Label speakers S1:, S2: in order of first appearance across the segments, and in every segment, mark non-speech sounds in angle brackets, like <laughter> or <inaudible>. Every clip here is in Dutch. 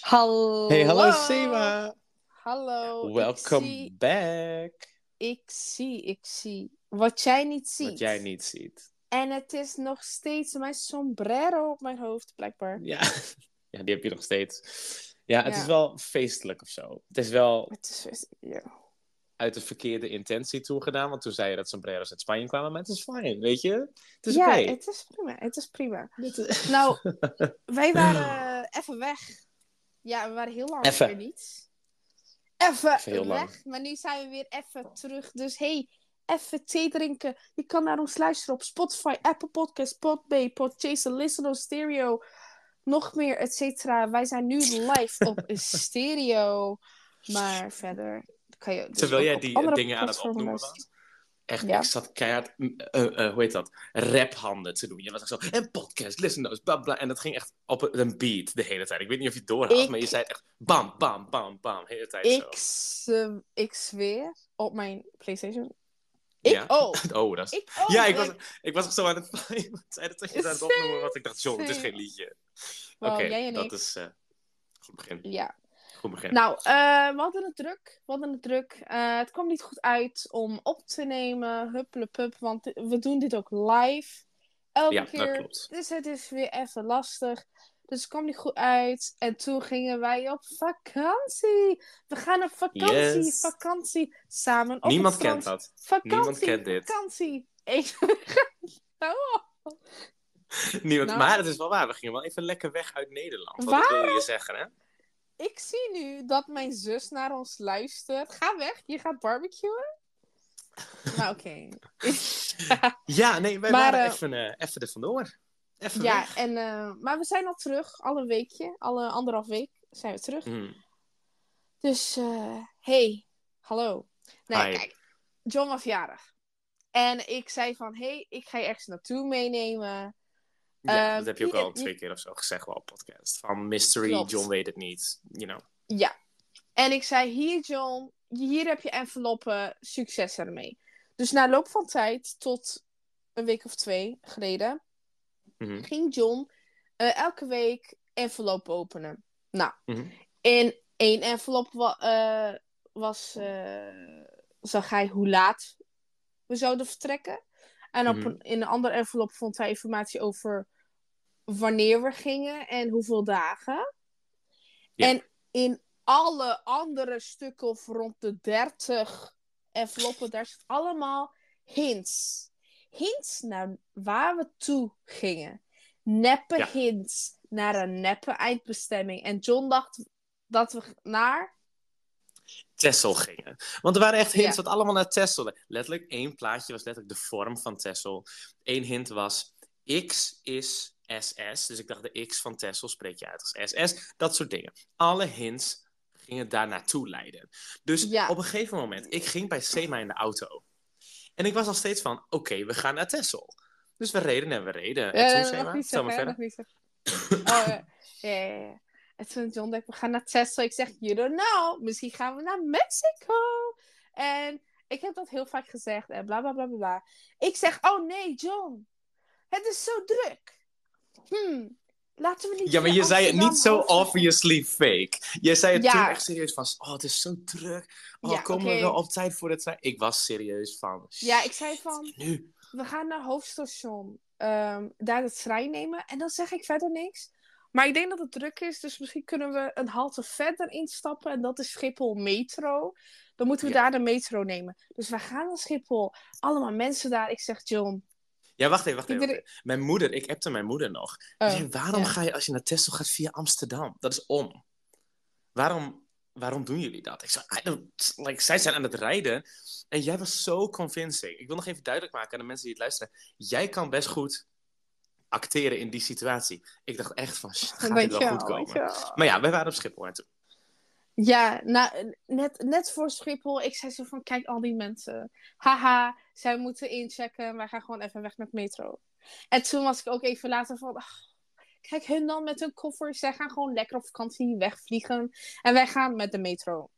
S1: Hallo.
S2: Hey, hallo Sema.
S1: Hallo.
S2: Welcome
S1: Ik zie,
S2: back.
S1: ik zie, ik zie. Wat jij niet ziet.
S2: Wat jij niet ziet.
S1: En het is nog steeds mijn sombrero op mijn hoofd, blijkbaar.
S2: Ja. <laughs> ja, die heb je nog steeds. Ja, het
S1: Ja.
S2: is wel feestelijk of zo. Het is wel
S1: Het is, ja.
S2: uit de verkeerde intentie toegedaan, want toen zei je dat sombreros uit Spanje kwamen, maar het is fijn, weet je? Het is
S1: ja,
S2: oké.
S1: het is prima. Het is prima.
S2: Dit-
S1: <laughs> Nou, wij waren eh, even weg. Ja, we waren heel lang
S2: Even.
S1: weer niet. Even,
S2: Even heel lang.
S1: weg. Maar nu zijn we weer even terug. Dus hey, even thee drinken. Je kan naar ons luisteren op Spotify, Apple Podcasts, Podbay, Podchaser, Listen Stereo. Nog meer, et cetera. Wij zijn nu live
S2: <laughs>
S1: op Stereo. Maar verder kan je... dus
S2: Terwijl
S1: ook
S2: jij
S1: op
S2: die
S1: andere
S2: dingen aan het
S1: platformen
S2: opnoemen
S1: luisteren.
S2: was. <laughs> Echt,
S1: Ja.
S2: ik zat keihard, mm, eh, eh, hoe heet dat, raphanden te doen. Je was echt zo, en podcast, listen notes, bla bla. En dat ging echt op een een beat de hele tijd. Ik weet niet of je het door had,
S1: Ik-
S2: maar je zei echt bam, bam, bam, bam, de hele tijd zo.
S1: Ik, z- ik zweer eh, op mijn PlayStation. Ik
S2: Ja.
S1: ook.
S2: Oh, dat is...
S1: Ik ook.
S2: ja, ik
S1: ben-
S2: was, ik was zo aan het <laughs> het zei dat je het aan het
S1: Same,
S2: opnoemen, want ik dacht, joh, het is
S1: same.
S2: geen liedje.
S1: Wow,
S2: Oké,
S1: jij en ik.
S2: dat is eh, goed begin.
S1: Ja.
S2: Goed begin.
S1: Nou, eh, we hadden het druk. We hadden het druk. Eh, het kwam niet goed uit om op te nemen. Huppelepup, want we doen dit ook live. Elke
S2: ja,
S1: keer.
S2: dat klopt.
S1: Dus het is weer even lastig. Dus het kwam niet goed uit. En toen gingen wij op vakantie. We gaan op vakantie,
S2: Yes.
S1: vakantie. Samen op
S2: Niemand
S1: het
S2: kent
S1: strand.
S2: dat.
S1: Vakantie,
S2: Niemand kent dit.
S1: vakantie. Ik... <laughs> oh,
S2: <laughs> Niemand...
S1: Nou.
S2: Maar het is wel waar, we gingen wel even lekker weg uit Nederland. Wat
S1: Waarom?
S2: wil je zeggen, hè?
S1: ik zie nu dat mijn zus naar ons luistert. Ga weg, je gaat barbecuen. Maar oké.
S2: Ja, nee, wij
S1: Maar,
S2: waren
S1: eh,
S2: even, eh even er vandoor. Even weg.
S1: Ja, en, eh, maar we zijn al terug, al een weekje, al een anderhalf week zijn we terug.
S2: Hmm.
S1: Dus, eh, hey, hallo. Nee,
S2: Hi.
S1: kijk, John was jarig. En ik zei van, hey, ik ga je ergens naartoe meenemen.
S2: Ja,
S1: Eh,
S2: dat heb je ook al
S1: je- je-
S2: twee keer of zo gezegd wel op podcast. Van mystery,
S1: Klopt.
S2: John weet het niet. You know.
S1: Ja. En ik zei, hier John, hier heb je enveloppen, succes ermee. Dus na loop van tijd, tot een week of twee geleden,
S2: Mhm.
S1: ging John eh, elke week enveloppen openen. Nou,
S2: Mhm.
S1: In één envelop wa- eh, was, eh, zag hij hoe laat we zouden vertrekken. En op
S2: Mhm.
S1: een, in een andere envelop vond hij informatie over wanneer we gingen en hoeveel dagen.
S2: Ja.
S1: En in alle andere stukken of rond de 30 enveloppen, daar zit allemaal hints. Hints naar waar we toe gingen. Neppe
S2: Ja.
S1: hints naar een neppe eindbestemming. En John dacht dat we g- naar.
S2: Tessel gingen. Want er waren echt hints
S1: Ja.
S2: dat allemaal naar Tessel. Letterlijk één plaatje was letterlijk de vorm van Tessel. Eén hint was X is SS. Dus ik dacht de X van Tessel spreek je uit als SS. Dat soort dingen. Alle hints gingen daar naartoe leiden. Dus
S1: Ja.
S2: op een gegeven moment, ik ging bij Sema in de auto. En ik was nog steeds van, oké, we gaan naar Tessel. Dus we reden en we reden.
S1: Eh,
S2: en toen
S1: nog
S2: Sema,
S1: niet
S2: vertel maar
S1: zeggen,
S2: verder.
S1: nog niet zeggen. Oh, eh, ja, ja, ja. En toen John dacht, we gaan naar Texel. Ik zeg, you don't know. Misschien gaan we naar Mexico. En ik heb dat heel vaak gezegd. En bla, bla, bla, bla, bla. Ik zeg, oh nee, John. Het is zo druk. Hmm, laten we niet
S2: Ja, maar
S1: naar
S2: je zei het
S1: Amsterdam
S2: niet zo
S1: hoofdstad-
S2: obviously fake. Je zei het
S1: Ja.
S2: toen echt serieus van, oh, het is zo druk. Oh,
S1: Ja,
S2: komen
S1: oké.
S2: we wel op tijd voor de trein? Ik was serieus van,
S1: Ja, ik zei van,
S2: nu.
S1: we gaan naar hoofdstation. ehm, daar het trein nemen. En dan zeg ik verder niks. Maar ik denk dat het druk is. Dus misschien kunnen we een halte verder instappen. En dat is Schiphol Metro. Dan moeten we
S2: Ja.
S1: daar de metro nemen. Dus we gaan naar Schiphol. Allemaal mensen daar. Ik zeg, John.
S2: Ja, wacht even, wacht even.
S1: Iedereen-
S2: wacht even. Mijn moeder, ik appte mijn moeder nog.
S1: eh,
S2: <laughs> Ik zei, waarom
S1: ja.
S2: ga je als je naar Tesla gaat via Amsterdam? Dat is om. Waarom, waarom doen jullie dat? Ik zei, I don't- like, zij zijn aan het rijden. En jij was zo convincing. Ik wil nog even duidelijk maken aan de mensen die het luisteren. Jij kan best goed acteren in die situatie. Ik dacht echt van, shit, gaat dit wel
S1: Dankjewel,
S2: goed komen?
S1: dankjewel.
S2: Maar ja, wij waren op Schiphol. En toen-
S1: Ja, nou, net, net voor Schiphol. Ik zei zo van, kijk al die mensen. Haha, zij moeten inchecken. Wij gaan gewoon even weg met metro. En toen was ik ook even later van... "Ach, kijk hun dan met hun koffers. Zij gaan gewoon lekker op vakantie wegvliegen. En wij gaan met de metro.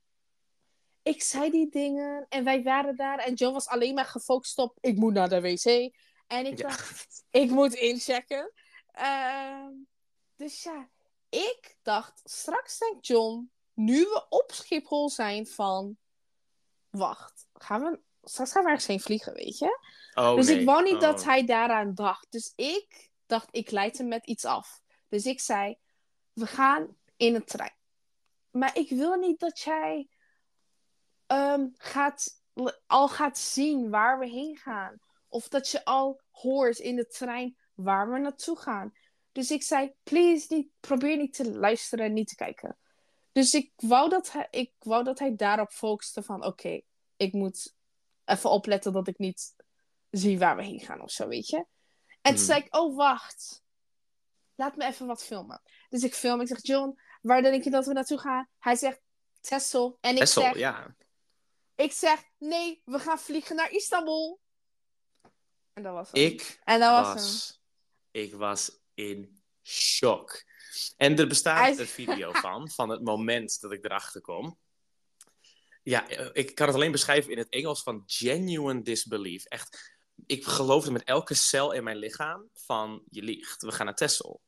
S1: Ik zei die dingen. En wij waren daar. En John was alleen maar gefocust op... Ik moet naar de wc. En ik
S2: Ja.
S1: dacht, ik moet inchecken. Ehm, dus ja, Ik dacht, straks denkt John, nu we op Schiphol zijn, van... Wacht, gaan we... straks gaan we ergens heen vliegen, weet je?
S2: Oh,
S1: dus
S2: nee.
S1: ik wou niet
S2: Oh.
S1: dat hij daaraan dacht. Dus ik dacht, ik leid hem met iets af. Dus ik zei, we gaan in een trein. Maar ik wil niet dat jij ehm, gaat, al gaat zien waar we heen gaan. Of dat je al hoort in de trein waar we naartoe gaan. Dus ik zei, please, niet, probeer niet te luisteren en niet te kijken. Dus ik wou dat hij, ik wou dat hij daarop focuste van, oké, ik moet even opletten dat ik niet zie waar we heen gaan of zo, weet je. En toen
S2: Mhm.
S1: zei ik, oh wacht, laat me even wat filmen. Dus ik film, ik zeg, John, waar denk je dat we naartoe gaan? Hij zegt, Texel. En ik,
S2: Essel,
S1: zeg,
S2: ja.
S1: ik zeg, nee, we gaan vliegen naar Istanbul. En dat was hem.
S2: Ik
S1: en dat was, hem.
S2: was, ik was in shock. En er bestaat
S1: Hij is-
S2: een
S1: <laughs>
S2: video van, van het moment dat ik erachter kom. Ja, eh, ik kan het alleen beschrijven in het Engels van genuine disbelief. Echt, ik geloofde met elke cel in mijn lichaam van, je liegt, we gaan naar Texel.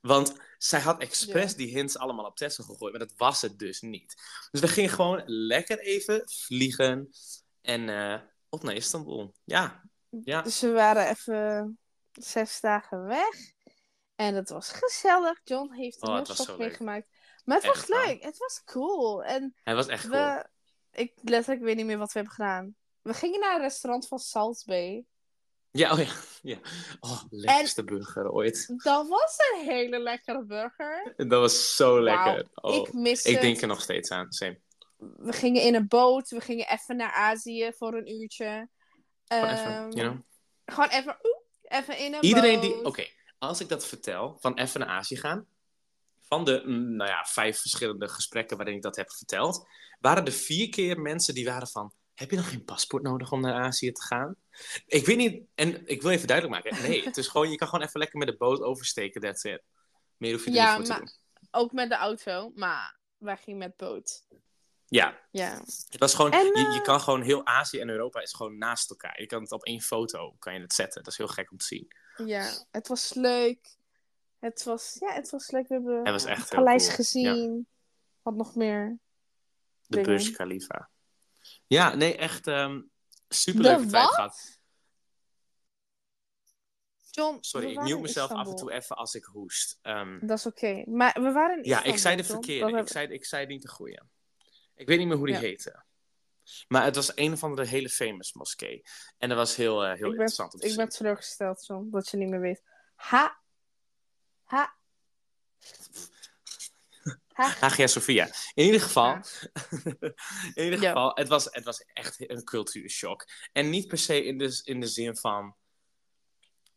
S2: Want zij had expres die hints allemaal op Texel gegooid, maar dat was het dus niet. Dus we gingen gewoon lekker even vliegen en eh, op naar Istanbul. Ja, ja.
S1: Dus we waren even zes dagen weg. En het was gezellig. John heeft een
S2: Oh,
S1: heel
S2: het was
S1: stuk
S2: zo leuk.
S1: meegemaakt. Maar het was
S2: Echt waar.
S1: leuk. Het was cool. En
S2: Hij was echt cool.
S1: we... Ik letterlijk weet niet meer wat we hebben gedaan. We gingen naar een restaurant van Salt Bay.
S2: Ja, oh ja. <laughs> ja. Oh, lekkerste burger ooit.
S1: Dat was een hele lekkere burger.
S2: Dat was zo lekker. Oh,
S1: Nou, ik
S2: ik
S1: mis het.
S2: denk er nog steeds aan. Same.
S1: We gingen in een boot. We gingen even naar Azië voor een uurtje.
S2: Gewoon even,
S1: Ehm,
S2: you know?
S1: Gewoon even... oeh, even in een
S2: Iedereen
S1: boot.
S2: die... Oké, als ik dat vertel, van even naar Azië gaan. Van de, mm, nou ja, vijf verschillende gesprekken waarin ik dat heb verteld... waren er vier keer mensen die waren van... Heb je nog geen paspoort nodig om naar Azië te gaan? Ik weet niet... En ik wil even duidelijk maken. Nee, het is gewoon... Je kan gewoon even lekker met de boot oversteken. That's it. Meer hoef je er
S1: Ja,
S2: niet voor
S1: maar-
S2: te doen.
S1: Ook met de auto. Maar wij gingen met boot.
S2: Ja,
S1: Ja.
S2: Het was gewoon,
S1: En,
S2: je, je
S1: eh,
S2: kan gewoon heel Azië en Europa is gewoon naast elkaar. Je kan het op één foto kan je het zetten. Dat is heel gek om te zien.
S1: Ja, het was leuk. Het was, ja, het was leuk. We hebben
S2: Het was echt
S1: het
S2: heel
S1: paleis
S2: cool,
S1: gezien. Wat nog meer?
S2: De
S1: Dingen.
S2: Burj Khalifa. Ja, nee, echt ehm superleuke
S1: De
S2: tijd
S1: wat?
S2: gehad.
S1: John,
S2: Sorry,
S1: we
S2: ik
S1: waren
S2: mute
S1: in
S2: mezelf af en
S1: Istanbul.
S2: toe even als ik hoest. Ehm,
S1: Dat is oké. Maar we waren in
S2: ja, ik
S1: Istanbul,
S2: zei de
S1: John.
S2: verkeerde.
S1: Dat
S2: Ik
S1: hebben-
S2: zei, ik zei niet de goede. Ik weet niet meer hoe die
S1: Ja.
S2: heette. Maar het was een of andere hele famous moskee. En dat was heel, eh, heel
S1: ben-
S2: interessant om te
S1: Ik ben
S2: zien.
S1: teleurgesteld, John, dat je niet meer weet. Ha. Ha.
S2: <laughs>
S1: Ha.
S2: Hagia Sophia. In ieder geval,
S1: Ja.
S2: <laughs> in ieder
S1: Ja.
S2: geval het, was, het was echt een cultuurshock. En niet per se in de, in de zin van...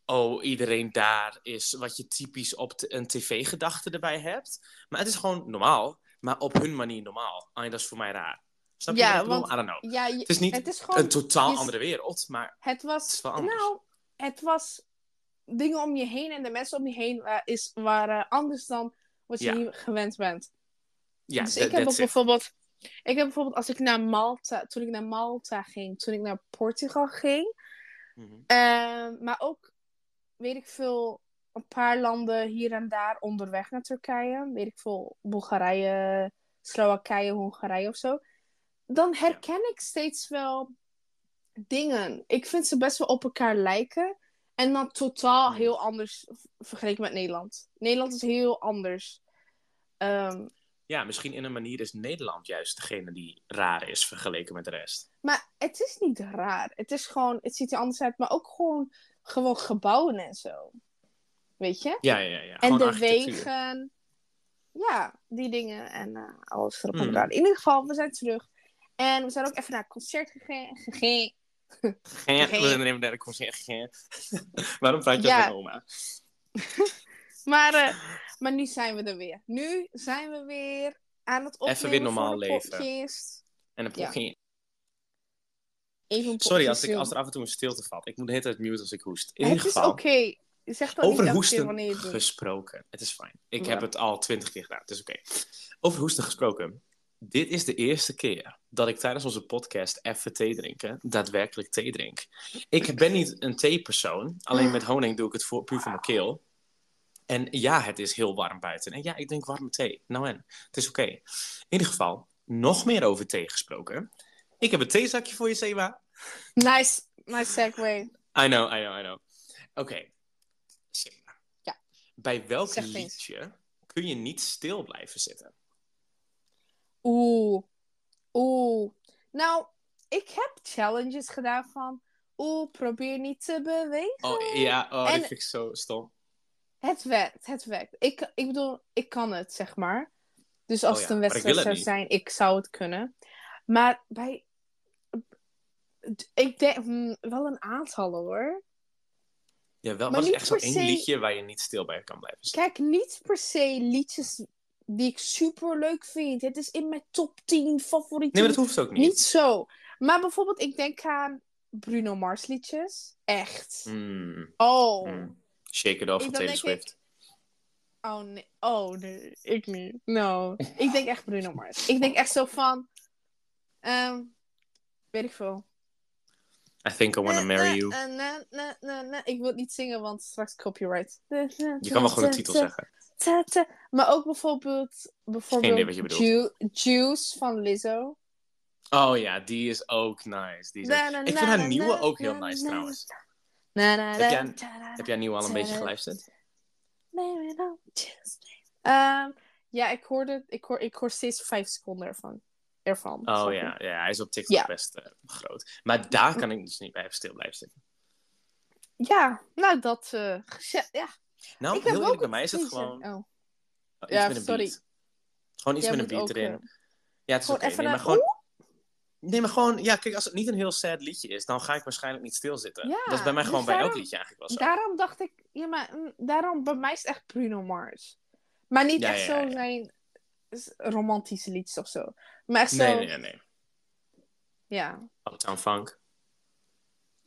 S2: Oh, iedereen daar is wat je typisch op t- een tv-gedachte erbij hebt. Maar het is gewoon normaal, maar op hun manier normaal. Alleen dat is voor mij raar. Snap je
S1: Ja,
S2: wat ik bedoel?
S1: want-
S2: I don't know.
S1: Ja, je-
S2: Het is niet
S1: het is
S2: een
S1: gewoon...
S2: totaal
S1: je-
S2: andere wereld, maar
S1: Het
S2: het
S1: was...
S2: is wel anders.
S1: Nou, het was dingen om je heen en de mensen om je heen eh, is, waren anders dan wat je
S2: Ja.
S1: hier gewend bent.
S2: ja,
S1: dus
S2: that-
S1: ik heb ook
S2: that's it.
S1: bijvoorbeeld, ik heb bijvoorbeeld als ik naar Malta, toen ik naar Malta ging, toen ik naar Portugal ging,
S2: Mhm.
S1: eh, maar ook, weet ik veel, een paar landen hier en daar onderweg naar Turkije, weet ik veel, Bulgarije, Slowakije, Hongarije of zo, dan herken ik steeds wel dingen. Ik vind ze best wel op elkaar lijken. En dan totaal
S2: Mhm.
S1: heel anders v- vergeleken met Nederland. Nederland is heel anders. Ehm,
S2: Ja, misschien in een manier is Nederland juist degene die raar is vergeleken met de rest.
S1: maar het is niet raar. Het is gewoon, het ziet er anders uit. Maar ook gewoon, gewoon gebouwen en zo. Weet je?
S2: Ja, ja, ja.
S1: En
S2: gewoon
S1: de
S2: architectuur.
S1: wegen. Ja, die dingen en eh, alles erop en
S2: Mhm.
S1: eraan. In ieder geval, we zijn terug. En we zijn ook even naar het concert gege- gege-
S2: Ja,
S1: Geen-
S2: we zijn er even naar de concert gegaan. <laughs> Waarom praat je
S1: Ja.
S2: als een oma?
S1: Maar,
S2: <laughs>
S1: eh, maar nu zijn we er weer. Nu zijn we weer aan het opnemen
S2: weer normaal
S1: voor de
S2: leven.
S1: podcast.
S2: En een
S1: Ja.
S2: poging-
S1: Even een
S2: Sorry als,
S1: podcast
S2: ik,
S1: doen.
S2: als er af en toe een stilte valt. Ik moet de hele tijd mute als ik hoest. In
S1: het
S2: ieder
S1: is
S2: geval,
S1: oké. Zeg dat
S2: over
S1: niet elke keer
S2: hoesten
S1: wanneer je het doet.
S2: gesproken. Het is fijn. Ik
S1: Ja.
S2: heb het al twintig keer gedaan. Het is oké. Over hoesten gesproken. Dit is de eerste keer dat ik tijdens onze podcast even thee drinken, daadwerkelijk thee drink. Ik ben niet een theepersoon. Alleen met honing doe ik het voor, puur voor mijn keel. En ja, het is heel warm buiten. En ja, ik drink warme thee. Nou en, het is oké. In ieder geval, nog meer over thee gesproken. Ik heb een theezakje voor je, Seba.
S1: Nice, nice segue.
S2: I know, I know, I know. Oké. Seba.
S1: Ja.
S2: Bij welk
S1: Zeg het eens.
S2: liedje kun je niet stil blijven zitten?
S1: Oeh. Oeh. Nou, ik heb challenges gedaan van... Oeh, probeer niet te bewegen.
S2: Oh ja, oh, dat
S1: En-
S2: vind ik zo stom.
S1: Het werkt, het werkt. Ik, ik bedoel, ik kan het, zeg maar. Dus als
S2: Oh
S1: het
S2: ja,
S1: een
S2: maar ik wil
S1: wedstrijd
S2: het
S1: zou
S2: niet.
S1: zijn, ik zou het kunnen. Maar bij... Ik denk hmm, wel een aantal, hoor.
S2: Ja,
S1: Maar
S2: wel, wat is
S1: niet
S2: echt zo'n
S1: per
S2: één
S1: se-
S2: liedje waar je niet stil bij kan blijven zitten?
S1: Kijk, niet per se liedjes die ik super leuk vind. Het is in mijn top 10 favoriete
S2: Nee, maar dat hoeft ook niet.
S1: Niet zo. Maar bijvoorbeeld, ik denk aan Bruno Mars liedjes. Echt.
S2: Mm,
S1: Oh.
S2: mm. Shake It Off
S1: Ik- dan
S2: van Taylor
S1: denk ik-
S2: Swift.
S1: Oh nee. Oh nee. Ik niet. No. ik denk echt Bruno Mars. Ik denk echt zo van. ehm, weet ik veel.
S2: I think I wanna marry you.
S1: Eh, eh, na, na, na, na. Ik wil het niet zingen, want straks copyright.
S2: Je kan wel gewoon de titel zeggen.
S1: zeggen. Maar ook bijvoorbeeld. bijvoorbeeld
S2: Geen idee wat je bedoelt.
S1: Ju- Juice van Lizzo.
S2: Oh ja, die is ook nice. Die is ook-
S1: Na, na,
S2: Ik
S1: na,
S2: vind haar
S1: na,
S2: nieuwe
S1: na,
S2: ook heel
S1: na,
S2: nice
S1: na.
S2: trouwens.
S1: Na, na,
S2: Heb jij
S1: na,
S2: een-
S1: ta, na,
S2: Heb jij nieuwe al een beetje
S1: Ta-da.
S2: geluisterd?
S1: Baby, don't just leave. Ehm, ja, ik hoorde, ik hoor, ik hoor steeds vijf seconden ervan. ervan
S2: Oh
S1: Sorry.
S2: ja, ja, hij is op TikTok
S1: Ja.
S2: best eh, groot. Maar daar kan ik dus niet bij stil blijven zitten.
S1: Ja, nou dat. eh, geze- ja,
S2: Nou,
S1: ik heb ook
S2: heel eerlijk, bij
S1: een
S2: mij is het
S1: vriezer.
S2: gewoon
S1: Oh,
S2: iets
S1: Ja,
S2: met een
S1: sorry.
S2: beat. Gewoon iets
S1: jij
S2: met een
S1: moet
S2: beat
S1: ook,
S2: erin.
S1: eh,
S2: Ja, het is
S1: gewoon
S2: oké.
S1: even
S2: Nee, maar
S1: een-
S2: gewoon... Nee, maar gewoon... Ja, kijk, als het niet een heel sad liedje is, dan ga ik waarschijnlijk niet stilzitten.
S1: Ja,
S2: dat is bij mij
S1: dus
S2: gewoon bij elk
S1: daarom-
S2: liedje eigenlijk wel zo.
S1: Daarom dacht ik, ja, maar mm, daarom bij mij is het echt Bruno Mars. Maar niet
S2: Ja,
S1: echt
S2: ja,
S1: zo
S2: ja.
S1: zijn s- romantische liedjes of zo. Maar echt zo,
S2: Nee, nee, nee, Oh, nee.
S1: ja.
S2: Uptown Funk.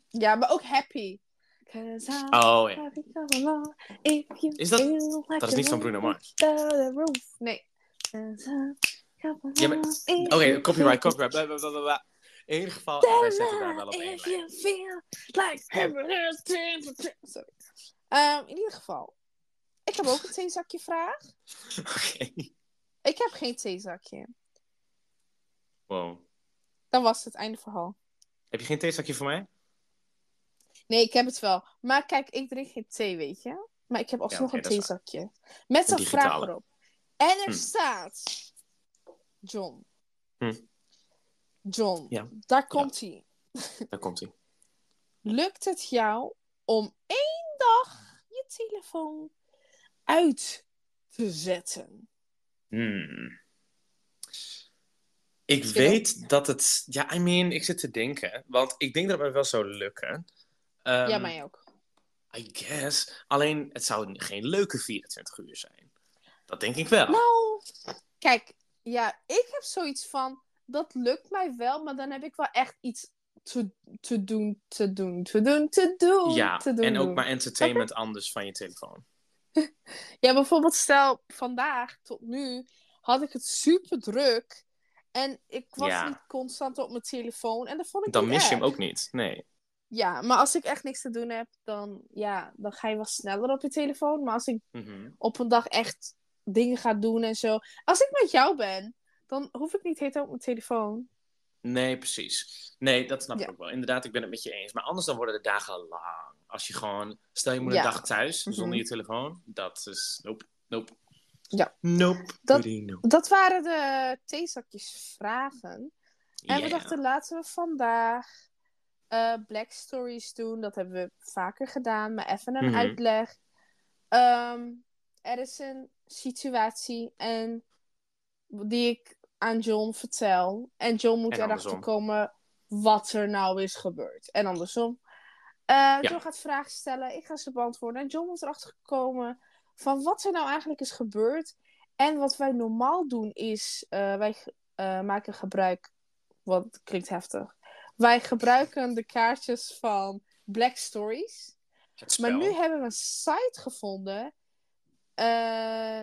S1: Ja, maar ook happy. 'Cause I'm
S2: Oh ja.
S1: happy all along. If you
S2: Is dat-
S1: feel like
S2: Dat is niet
S1: a
S2: van Bruno
S1: woman.
S2: Mars.
S1: the roof. Nee.
S2: Ja, maar- Oké, copyright, copyright. Bla, bla, bla, bla, bla. In ieder geval, wij zetten daar wel op één lijn.
S1: Sorry. Ehm, in ieder geval. Ik heb ook een theezakje vraag.
S2: <laughs> Oké.
S1: Ik heb geen theezakje.
S2: Wow.
S1: Dat was het einde verhaal.
S2: Heb je geen theezakje voor mij?
S1: Nee, ik heb het wel. Maar kijk, ik drink geen thee, weet je. Maar ik heb alsnog
S2: oké,
S1: een
S2: dat is
S1: theezakje. Met
S2: Een
S1: een vraag
S2: digitale.
S1: erop. En er
S2: Hm.
S1: staat... John.
S2: Hm.
S1: John,
S2: Ja.
S1: daar komt hij.
S2: Daar komt ie.
S1: lukt het jou om één dag je telefoon uit te zetten?
S2: Hmm. Ik weet dat het... Ja, I mean, ik zit te denken. Want ik denk dat het mij wel zou lukken. Ehm,
S1: ja, mij ook.
S2: I guess. Alleen, het zou geen leuke 24 uur zijn. Dat denk ik wel.
S1: Nou, kijk, ja, ik heb zoiets van, dat lukt mij wel, maar dan heb ik wel echt iets te, te doen, te doen, te doen, te doen,
S2: ja,
S1: Nou, te doen.
S2: en ook
S1: doen.
S2: maar entertainment anders van je telefoon.
S1: Ja, bijvoorbeeld stel, vandaag tot nu had ik het super druk en ik was
S2: Ja.
S1: niet constant op mijn telefoon en dat vond ik
S2: Dan
S1: niet
S2: mis je
S1: erg.
S2: hem ook niet. Nee.
S1: Ja, maar als ik echt niks te doen heb, dan, ja, dan ga je wel sneller op je telefoon. Maar als ik
S2: Mhm.
S1: op een dag echt dingen ga doen en zo. Als ik met jou ben, dan hoef ik niet helemaal op mijn telefoon.
S2: Nee, precies. Nee, dat snap ik
S1: Ja.
S2: ook wel. Inderdaad, ik ben het met je eens. Maar anders dan worden de dagen lang. Als je gewoon, stel je moet een
S1: Ja.
S2: dag thuis
S1: Mhm.
S2: zonder je telefoon. Dat is, nope, nope.
S1: Ja.
S2: Nope.
S1: Dat-
S2: goody, nope.
S1: Dat waren de theezakjes vragen. En we
S2: Ja.
S1: dachten, laten we vandaag eh, Black Stories doen. Dat hebben we vaker gedaan, maar even een
S2: Mhm.
S1: uitleg. Ehm, er is een situatie en die ik aan John vertel. En John moet
S2: En
S1: erachter
S2: andersom.
S1: komen wat er nou is gebeurd. En andersom. Eh, John gaat vragen stellen, ik ga ze beantwoorden. En John moet erachter komen van wat er nou eigenlijk is gebeurd. En wat wij normaal doen is, eh, wij eh, maken gebruik, want het klinkt heftig. Wij gebruiken de kaartjes van Black Stories.
S2: Het spel.
S1: Maar nu hebben we een site gevonden eh,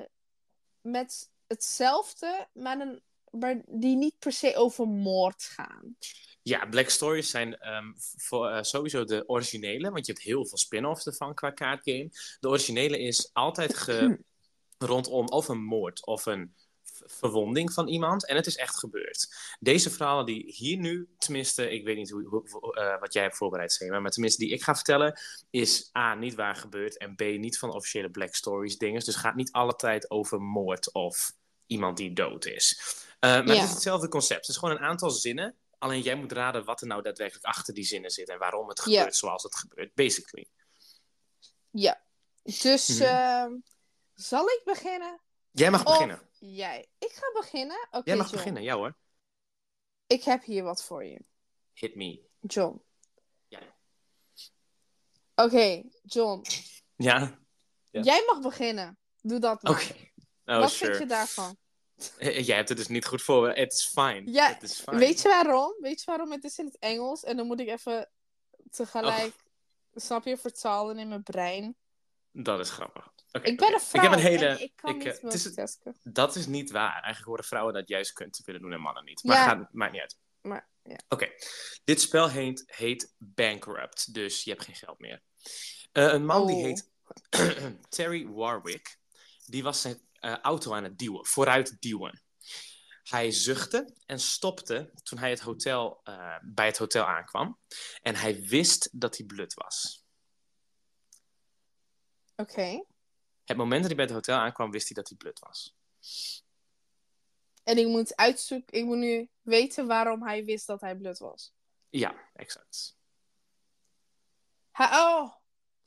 S1: met hetzelfde, maar, een, maar die niet per se over moord gaan.
S2: Ja, Black Stories zijn ehm, voor, eh, sowieso de originele, want je hebt heel veel spin-offs ervan qua kaartgame. De originele is altijd ge- rondom of een moord of een v- verwonding van iemand en het is echt gebeurd. Deze verhalen die hier nu, tenminste, ik weet niet hoe, hoe- hoe- eh, wat jij hebt voorbereid, Sema, maar tenminste die ik ga vertellen, is A, niet waar gebeurd en B, niet van officiële Black Stories dinges. Dus gaat niet alle tijd over moord of iemand die dood is. Eh, maar
S1: Ja.
S2: het is hetzelfde concept. Het is gewoon een aantal zinnen Alleen jij moet raden wat er nou daadwerkelijk achter die zinnen zit en waarom het
S1: Ja.
S2: gebeurt zoals het gebeurt, basically.
S1: Dus
S2: Mhm.
S1: ehm, zal ik beginnen?
S2: Jij mag
S1: Of
S2: beginnen.
S1: Jij. Ik ga beginnen. Oké,
S2: Jij mag
S1: John.
S2: beginnen, ja hoor.
S1: Ik heb hier wat voor je,
S2: Hit me.
S1: John.
S2: Ja.
S1: Oké, John.
S2: Ja? Ja.
S1: Jij mag beginnen. Doe dat maar.
S2: Oké. Oh,
S1: wat
S2: sure.
S1: vind je daarvan?
S2: Eh, Jij hebt het dus niet goed voor. Het is fine.
S1: Ja,
S2: Het is fine.
S1: Weet je waarom? Weet je waarom? Het is in het Engels en dan moet ik even tegelijk, snap je, vertalen in mijn brein.
S2: Dat is grappig. Oké,
S1: Ik ben
S2: oké.
S1: een vrouw
S2: Ik heb een hele...
S1: en ik kan
S2: ik, eh,
S1: niet
S2: het is-
S1: multitasken.
S2: Dat is niet waar. Eigenlijk horen vrouwen dat juist kunnen te willen doen en mannen niet. Maar
S1: Ja.
S2: gaat, maakt niet uit.
S1: Maar, ja.
S2: Oké. Dit spel heet, heet Bankrupt. Dus je hebt geen geld meer. Eh, een man die
S1: Oh.
S2: heet <clears throat> Terry Warwick. Die was zijn eh, auto aan het duwen. Vooruit duwen. Hij zuchtte en stopte toen hij het hotel, eh, bij het hotel aankwam. En hij wist dat hij blut was.
S1: Oké.
S2: Het moment dat hij bij het hotel aankwam, wist hij dat hij blut was.
S1: En ik moet uitzoeken, ik moet nu weten waarom hij wist dat hij blut was.
S2: Ja, exact.
S1: Hij, oh,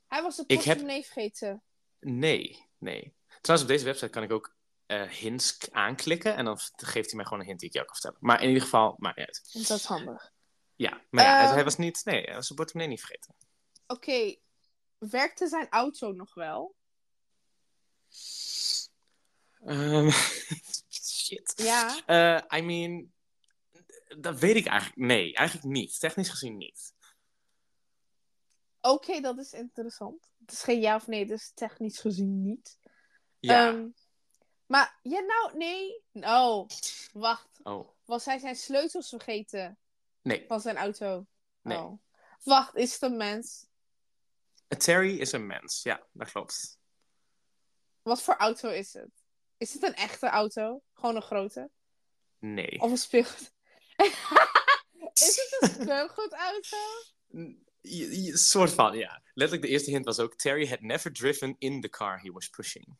S1: hij was de
S2: Ik heb-
S1: portemonnee vergeten.
S2: Nee, nee. Trouwens, op deze website kan ik ook eh, hints k- aanklikken. En dan v- geeft hij mij gewoon een hint die ik jou kan vertellen. Maar in ieder geval, maakt niet uit.
S1: Dat is handig.
S2: Ja, maar ja, het-
S1: Ehm.
S2: hij was niet... Nee, hij was zijn portemonnee niet vergeten.
S1: Oké, werkte zijn auto nog wel?
S2: Ehm, <laughs> shit.
S1: Ja.
S2: Eh, I mean... Dat weet ik eigenlijk... Nee, eigenlijk niet. Technisch gezien niet.
S1: Oké, dat is interessant. Het is geen ja of nee, dus technisch gezien niet.
S2: Ja.
S1: Ehm, maar, ja nou, nee. Oh, wacht.
S2: oh,
S1: Was hij zijn sleutels vergeten
S2: nee.
S1: van zijn auto?
S2: Nee.
S1: Oh. Wacht, is het een mens?
S2: Terry is een mens. Ja, dat klopt.
S1: Wat voor auto is het? Is het een echte auto? Gewoon een grote?
S2: Nee.
S1: Of een speelgoed? <laughs> is het een speelgoedauto?
S2: N- je- je- Soort van, ja. Letterlijk de eerste hint was ook... Terry had never driven in the car he was pushing.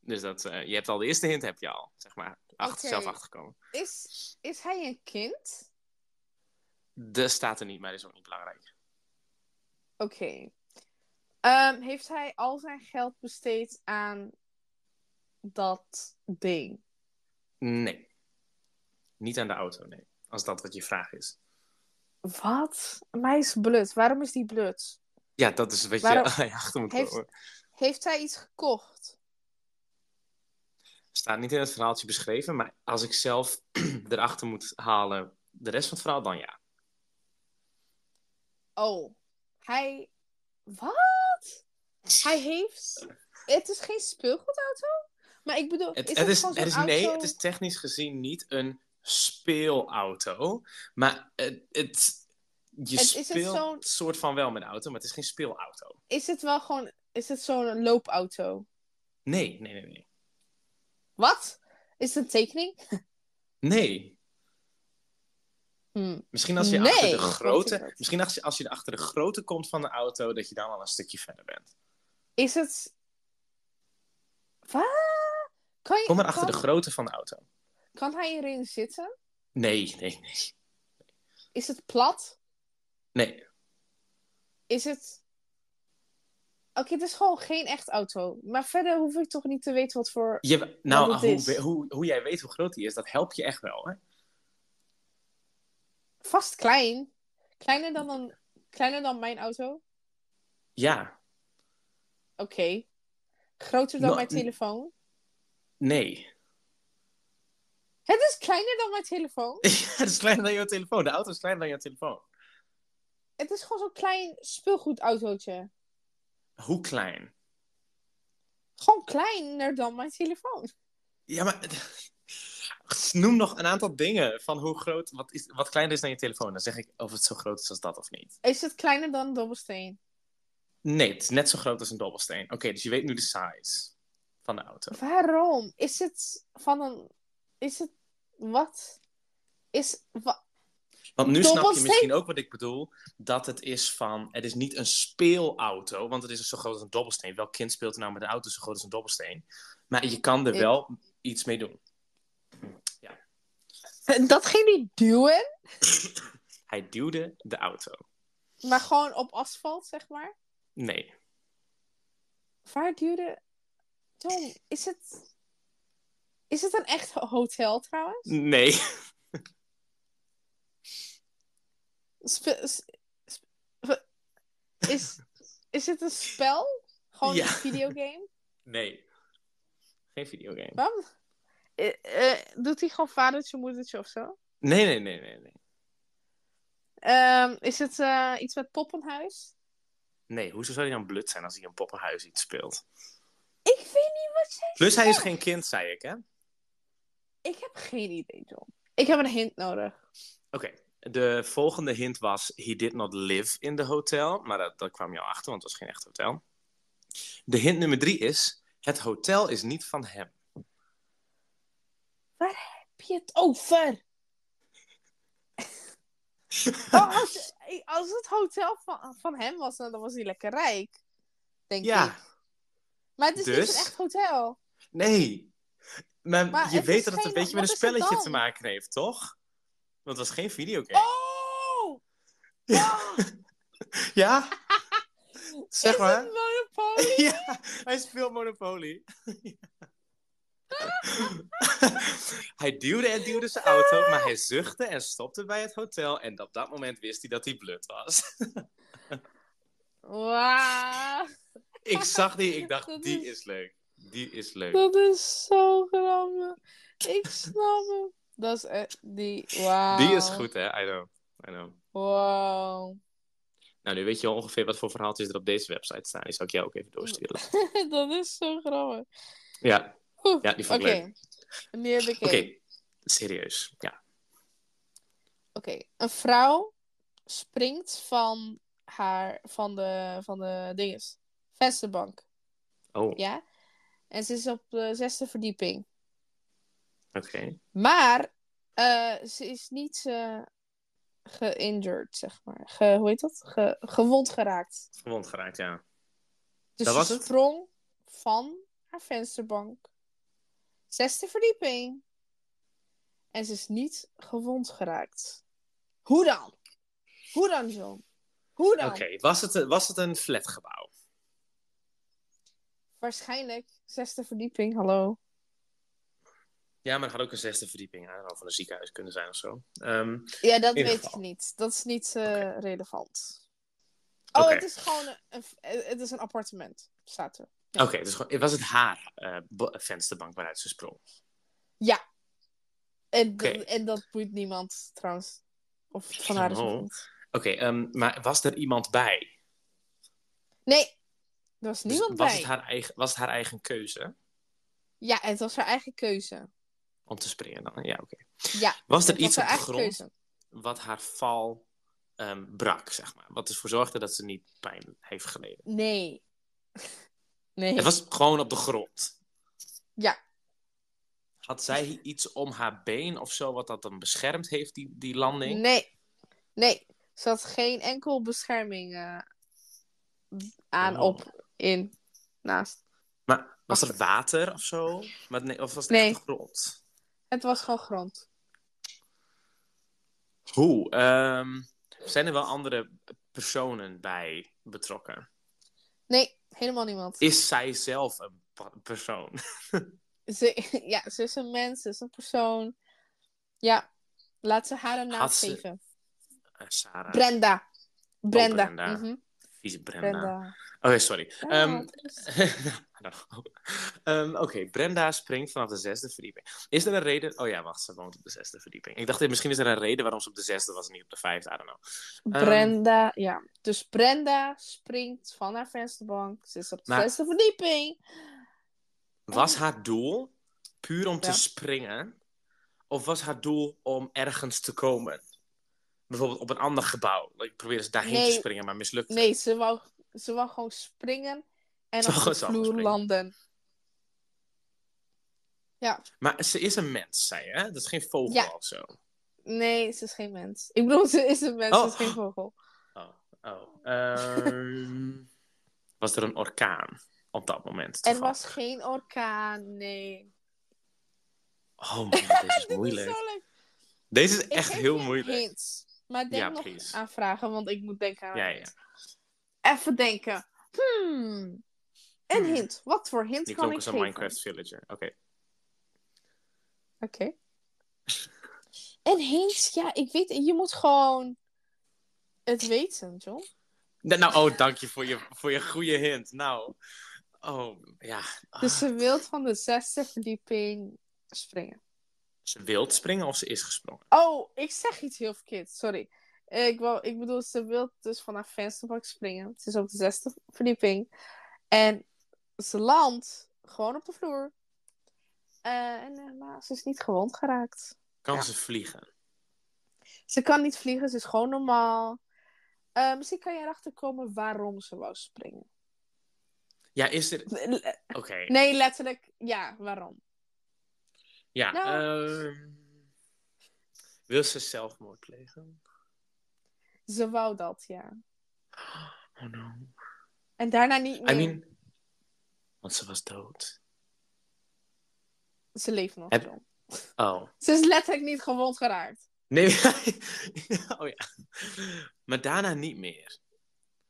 S2: Dus dat, eh, je hebt al de eerste hint, heb je al, zeg maar, achter,
S1: Oké.
S2: zelf achterkomen.
S1: Is, is hij een kind?
S2: De staat er niet, maar dat is ook niet belangrijk.
S1: Oké. Ehm, heeft hij al zijn geld besteed aan dat ding?
S2: Nee. Niet aan de auto, nee. Als dat wat je vraag is.
S1: Wat? Maar hij is blut. Waarom is die blut?
S2: Ja, dat is wat
S1: Waarom-
S2: je <laughs> achter moet
S1: Heeft-
S2: komen.
S1: Heeft hij iets gekocht?
S2: Staat niet in het verhaaltje beschreven, maar als ik zelf <clears throat> erachter moet halen de rest van het verhaal, dan ja.
S1: Oh, hij. Wat? Hij heeft. Het is geen speelgoedauto? Maar ik bedoel,
S2: Het
S1: is
S2: het
S1: het,
S2: is,
S1: gewoon
S2: het
S1: zo'n
S2: is,
S1: auto?
S2: nee, het is technisch gezien niet een speelauto. Maar het, het, je
S1: Het is een
S2: speelt
S1: zo'n-
S2: soort van wel met een auto, maar het is geen speelauto.
S1: Is het wel gewoon. Is het zo'n loopauto?
S2: Nee, nee, nee. Nee.
S1: Wat? Is het een tekening?
S2: nee.
S1: Hm.
S2: Misschien als je
S1: Nee,
S2: achter de
S1: dat is
S2: grootte...
S1: het.
S2: Misschien als je, als je achter de grootte komt van de auto... dat je dan al een stukje verder bent.
S1: Is het. Wat? Kan, je,
S2: Kom maar achter
S1: kan,
S2: de grootte van de auto.
S1: kan hij erin zitten?
S2: Nee, nee, nee.
S1: Is het plat?
S2: Nee,
S1: Is het. Oké, het is gewoon geen echt auto. Maar verder hoef ik toch niet te weten wat voor.
S2: je, nou,
S1: Wat het
S2: hoe,
S1: is.
S2: we- hoe, hoe jij weet hoe groot die is... dat helpt je echt wel, hè?
S1: Vast klein. Kleiner dan, een... Kleiner dan mijn auto.
S2: Ja,
S1: Oké. Groter dan
S2: Nou,
S1: mijn telefoon.
S2: nee. <laughs>
S1: Het is kleiner dan mijn telefoon.
S2: het is kleiner dan jouw telefoon. De auto is kleiner dan jouw telefoon.
S1: Het is gewoon zo'n klein speelgoedautootje.
S2: Hoe klein?
S1: Gewoon kleiner dan mijn telefoon.
S2: Ja, maar. <sighs> noem nog een aantal dingen van hoe groot, wat, is, wat kleiner is dan je telefoon. Dan zeg ik of het zo groot is als dat of niet.
S1: Is het kleiner dan een dobbelsteen?
S2: Nee, het is net zo groot als een dobbelsteen. Oké, dus je weet nu de size van de auto.
S1: Waarom? Is het van een. Is het. Wat? Is. wa-
S2: Want nu snap je
S1: Dobbelsteen?
S2: misschien ook wat ik bedoel. Dat het is van, het is niet een speelauto, want het is zo groot als een dobbelsteen. Welk kind speelt er nou met een auto zo groot als een dobbelsteen? Maar je kan er
S1: Ik-
S2: wel iets mee doen.
S1: Dat ging niet duwen,
S2: Hij duwde de auto.
S1: maar gewoon op asfalt, zeg maar.
S2: Nee.
S1: Waar duwde. Tom, is het. Is het een echt hotel trouwens?
S2: Nee. <laughs>
S1: Spe- s- sp- is, is het een spel? Gewoon
S2: Ja.
S1: een videogame?
S2: Nee. Geen videogame.
S1: Waarom? Eh, <laughs> eh, doet hij gewoon vadertje, moedertje of zo?
S2: Nee, nee, nee, nee. Nee,
S1: Ehm, is het eh, iets met poppenhuis?
S2: nee hoezo zou hij dan blut zijn als hij in poppenhuis iets speelt?
S1: Ik weet niet wat jij
S2: Plus hij is geen kind, zei ik, hè? Oké.
S1: Ik heb geen idee, John. Ik heb een hint nodig.
S2: De volgende hint was, he did not live in the hotel. Maar dat, dat kwam je al achter, want het was geen echt hotel. De hint nummer drie is, het hotel is niet van hem.
S1: Heb je het over? oh, als, als het hotel van, van hem was, nou, dan was hij lekker rijk. Denk ik.
S2: <laughs> Ja,
S1: Maar het is niet
S2: dus?
S1: een echt hotel.
S2: nee. Maar,
S1: Maar
S2: je
S1: het
S2: weet
S1: is
S2: dat het een
S1: geen-
S2: beetje met
S1: wat
S2: een
S1: is het
S2: spelletje
S1: dan?
S2: te maken heeft, toch? Want het was geen videogame.
S1: Oh! Oh! <laughs>
S2: Ja? zeg
S1: is
S2: maar.
S1: het Monopoly?
S2: <laughs> Ja, hij speelt Monopoly. <laughs> hij duwde en duwde zijn auto, maar hij zuchtte en stopte bij het hotel. En op dat moment wist hij dat hij blut was. <laughs>
S1: Wauw.
S2: ik zag die, ik dacht,
S1: Dat
S2: die
S1: is-
S2: is leuk. Die is leuk.
S1: Dat is zo grappig. Ik snap hem. Dat is echt die. Wauw.
S2: Die is goed, hè? I know. I know.
S1: Wow.
S2: Nou, nu weet je wel ongeveer wat voor verhaaltjes er op deze website staan. Die zal ik jou ook even doorsturen.
S1: <laughs> dat is zo grappig.
S2: Ja,
S1: Oeh,
S2: Ja, die vond ik
S1: Oké. Nu heb ik
S2: oké.
S1: één. Oké.
S2: Serieus, ja.
S1: Een vrouw springt van haar, van de, van de dinges, vensterbank.
S2: Oh,
S1: Ja? En ze is op de zesde verdieping.
S2: oké.
S1: Maar eh, ze is niet eh geïnjured, zeg maar. Ge, hoe heet dat? Ge- gewond geraakt.
S2: Gewond geraakt, ja.
S1: Dus
S2: Dat
S1: ze
S2: was het?
S1: sprong van haar vensterbank. Zesde verdieping. En ze is niet gewond geraakt. Hoe dan? Hoe dan, John? Hoe dan?
S2: Oké, was, het, een- was het een flatgebouw?
S1: Waarschijnlijk zesde verdieping, hallo.
S2: Ja, maar er had ook een zesde verdieping aan, van een ziekenhuis kunnen zijn of zo. Ehm,
S1: Ja, dat
S2: ieder
S1: weet
S2: geval.
S1: ik niet. Dat is niet eh,
S2: Oké.
S1: relevant. Oh,
S2: Oké.
S1: het is gewoon een, een- eh, het is een appartement, staat er.
S2: Oké, dus gewoon, was het haar eh, bo- vensterbank waaruit ze sprong?
S1: En,
S2: Oké.
S1: dat- en dat boeit niemand, trouwens. Of het van haar is of
S2: Oh.
S1: niet.
S2: Oké, ehm, maar was er iemand bij?
S1: Nee, er was
S2: Dus
S1: niemand
S2: was
S1: bij.
S2: Het haar eigen, was het haar eigen keuze
S1: Ja, het was haar eigen keuze.
S2: om te springen dan? Ja, oké.
S1: Ja,
S2: Was er
S1: het
S2: iets
S1: was
S2: op
S1: haar
S2: de
S1: eigen
S2: grond
S1: keuze.
S2: wat haar val ehm, brak, zeg maar? Wat ervoor zorgde dat ze niet pijn heeft geleden?
S1: Nee. <laughs> Nee.
S2: Het was gewoon op de grond.
S1: Ja.
S2: Had zij iets om haar been of zo wat dat dan beschermd heeft, die, die landing?
S1: Nee. Nee. Ze had geen enkel bescherming eh, aan,
S2: Oh.
S1: op, in, naast.
S2: Maar was er water of zo? Maar nee, of was het
S1: Nee.
S2: echt de grond?
S1: Het was gewoon grond.
S2: Hoe? ehm, zijn er wel andere personen bij betrokken?
S1: Nee, helemaal niemand.
S2: Is zij zelf een pa- persoon? <laughs>
S1: Ze, <laughs> ja, ze is een mens, ze is een persoon. Ja, laat ze haar een naam
S2: Had ze-
S1: geven.
S2: Eh, Sarah,
S1: Brenda. Brenda.
S2: Brenda.
S1: Mhm,
S2: vieze Brenda.
S1: Brenda.
S2: Oké, sorry.
S1: Ja,
S2: Ehm, <laughs>
S1: het is-
S2: nou, ehm, Oké, Brenda springt vanaf de zesde verdieping. Is er een reden... Oh ja, wacht, ze woont op de zesde verdieping. Ik dacht, misschien is er een reden waarom ze op de zesde was en niet op de vijfde. I don't know. Ehm,
S1: Brenda, ja. Dus Brenda springt van haar vensterbank. Ze is op de
S2: Maar-
S1: zesde verdieping.
S2: Was haar doel puur om te
S1: Oh. Ja.
S2: springen? Of was haar doel om ergens te komen? Bijvoorbeeld op een ander gebouw. Ik probeerde ze daarheen
S1: Nee.
S2: te springen, maar mislukt.
S1: Nee, ze wou, ze wou gewoon springen en
S2: Ze
S1: op
S2: wou
S1: de
S2: gewoon zelf
S1: vloer
S2: springen.
S1: landen.
S2: Maar ze is een mens, zei je, hè? Dat is geen vogel
S1: Ja.
S2: of zo.
S1: Nee, ze is geen mens. Ik bedoel, ze is een mens,
S2: Oh.
S1: ze is geen vogel.
S2: Oh. oh. Ehm, <laughs> was er een orkaan op dat moment?
S1: Er
S2: toevallig?
S1: was geen orkaan, nee.
S2: Oh man, deze is
S1: <laughs> Dit is
S2: moeilijk.
S1: zo leuk.
S2: Deze is
S1: Ik
S2: echt
S1: geef
S2: heel
S1: je
S2: moeilijk.
S1: hints. Maar denk
S2: Ja,
S1: nog
S2: please.
S1: aan vragen, want ik moet denken aan
S2: Ja,
S1: een
S2: ja.
S1: hint. Even denken. Hmm. Een
S2: Hmm.
S1: hint. Wat voor hint
S2: Die
S1: kan
S2: klonk
S1: ik
S2: als een
S1: geven?
S2: Minecraft villager. Oké.
S1: Oké. Een hint? Ja, ik weet... Je moet gewoon het weten, John.
S2: Nou, Nou, oh, dank je voor je, voor je goede hint. Nou, oh, ja. Ah,
S1: Dus ze wil van de zesde verdieping springen.
S2: Ze wil springen of ze is gesprongen?
S1: Oh, ik zeg iets heel verkeerd. Sorry. Eh, Ik, wou, ik bedoel, ze wil dus vanaf vensterbak springen. Ze is op de zesde verdieping. En ze landt gewoon op de vloer. Eh, en, eh, maar ze is niet gewond geraakt.
S2: Kan
S1: Ja.
S2: ze vliegen?
S1: Ze kan niet vliegen, ze is gewoon normaal. Eh, misschien kan je erachter komen waarom ze wou springen.
S2: Ja, is er...
S1: Le-
S2: Oké.
S1: Nee, letterlijk, ja, waarom?
S2: Ja,
S1: Nou.
S2: ehm, Wil ze zelfmoord plegen?
S1: Ze wou dat, ja.
S2: Oh no.
S1: En daarna niet meer.
S2: I mean... Want ze was dood.
S1: Ze leeft nog.
S2: Heb-
S1: John.
S2: Oh.
S1: Ze is letterlijk niet gewond geraakt.
S2: Nee. <laughs> oh ja. Maar daarna niet meer.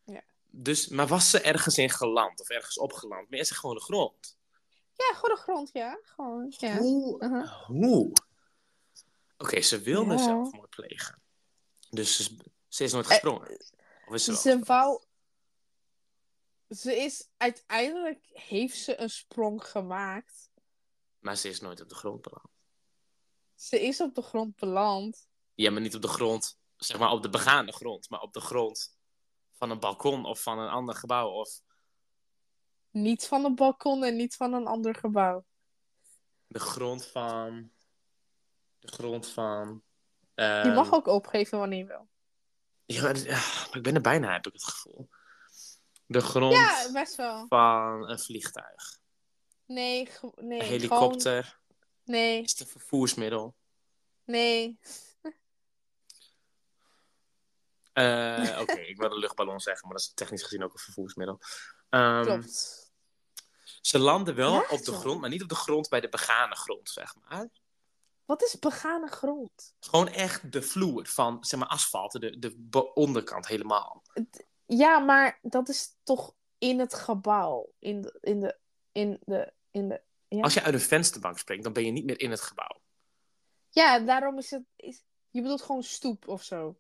S1: Ja.
S2: Dus, maar was ze ergens in geland of ergens opgeland? Maar is ze gewoon de grond?
S1: Ja, goede grond, ja. Gewoon, ja.
S2: Hoe?
S1: Uh-huh.
S2: Hoe? Oké, ze wilde
S1: Ja.
S2: zelfmoord plegen. Dus ze, ze is nooit gesprongen. of is ze wel
S1: Ze wou... Ze is... Uiteindelijk heeft ze een sprong gemaakt.
S2: Maar ze is nooit op de grond beland.
S1: Ze is op de grond beland.
S2: Ja, maar niet op de grond, zeg maar op de begaande grond, maar op de grond van een balkon of van een ander gebouw. Of
S1: Niet van een balkon en niet van een ander gebouw.
S2: de grond van. De grond van.
S1: Je
S2: ehm,
S1: mag ook opgeven wanneer je wil.
S2: Ja, maar, ah, maar ik ben er bijna, heb ik het gevoel. De grond
S1: Ja, best wel.
S2: van een vliegtuig.
S1: Nee, ge- nee.
S2: een helikopter
S1: gewoon- nee,
S2: is het een vervoersmiddel.
S1: nee.
S2: Eh, Oké,
S1: <laughs>
S2: ik wil de luchtballon zeggen, maar dat is technisch gezien ook een vervoersmiddel. Ehm,
S1: Klopt.
S2: Ze landen wel
S1: Ja,
S2: op de
S1: joh.
S2: grond, maar niet op de grond bij de begane grond, zeg maar.
S1: Wat is begane grond?
S2: Gewoon echt de vloer van, zeg maar, asfalt, de, de bo- onderkant helemaal.
S1: Ja, maar dat is toch in het gebouw. In de... In de... In de... In de ja.
S2: Als je uit een vensterbank springt, dan ben je niet meer in het gebouw.
S1: Ja, daarom is het. Is, je bedoelt gewoon stoep of zo.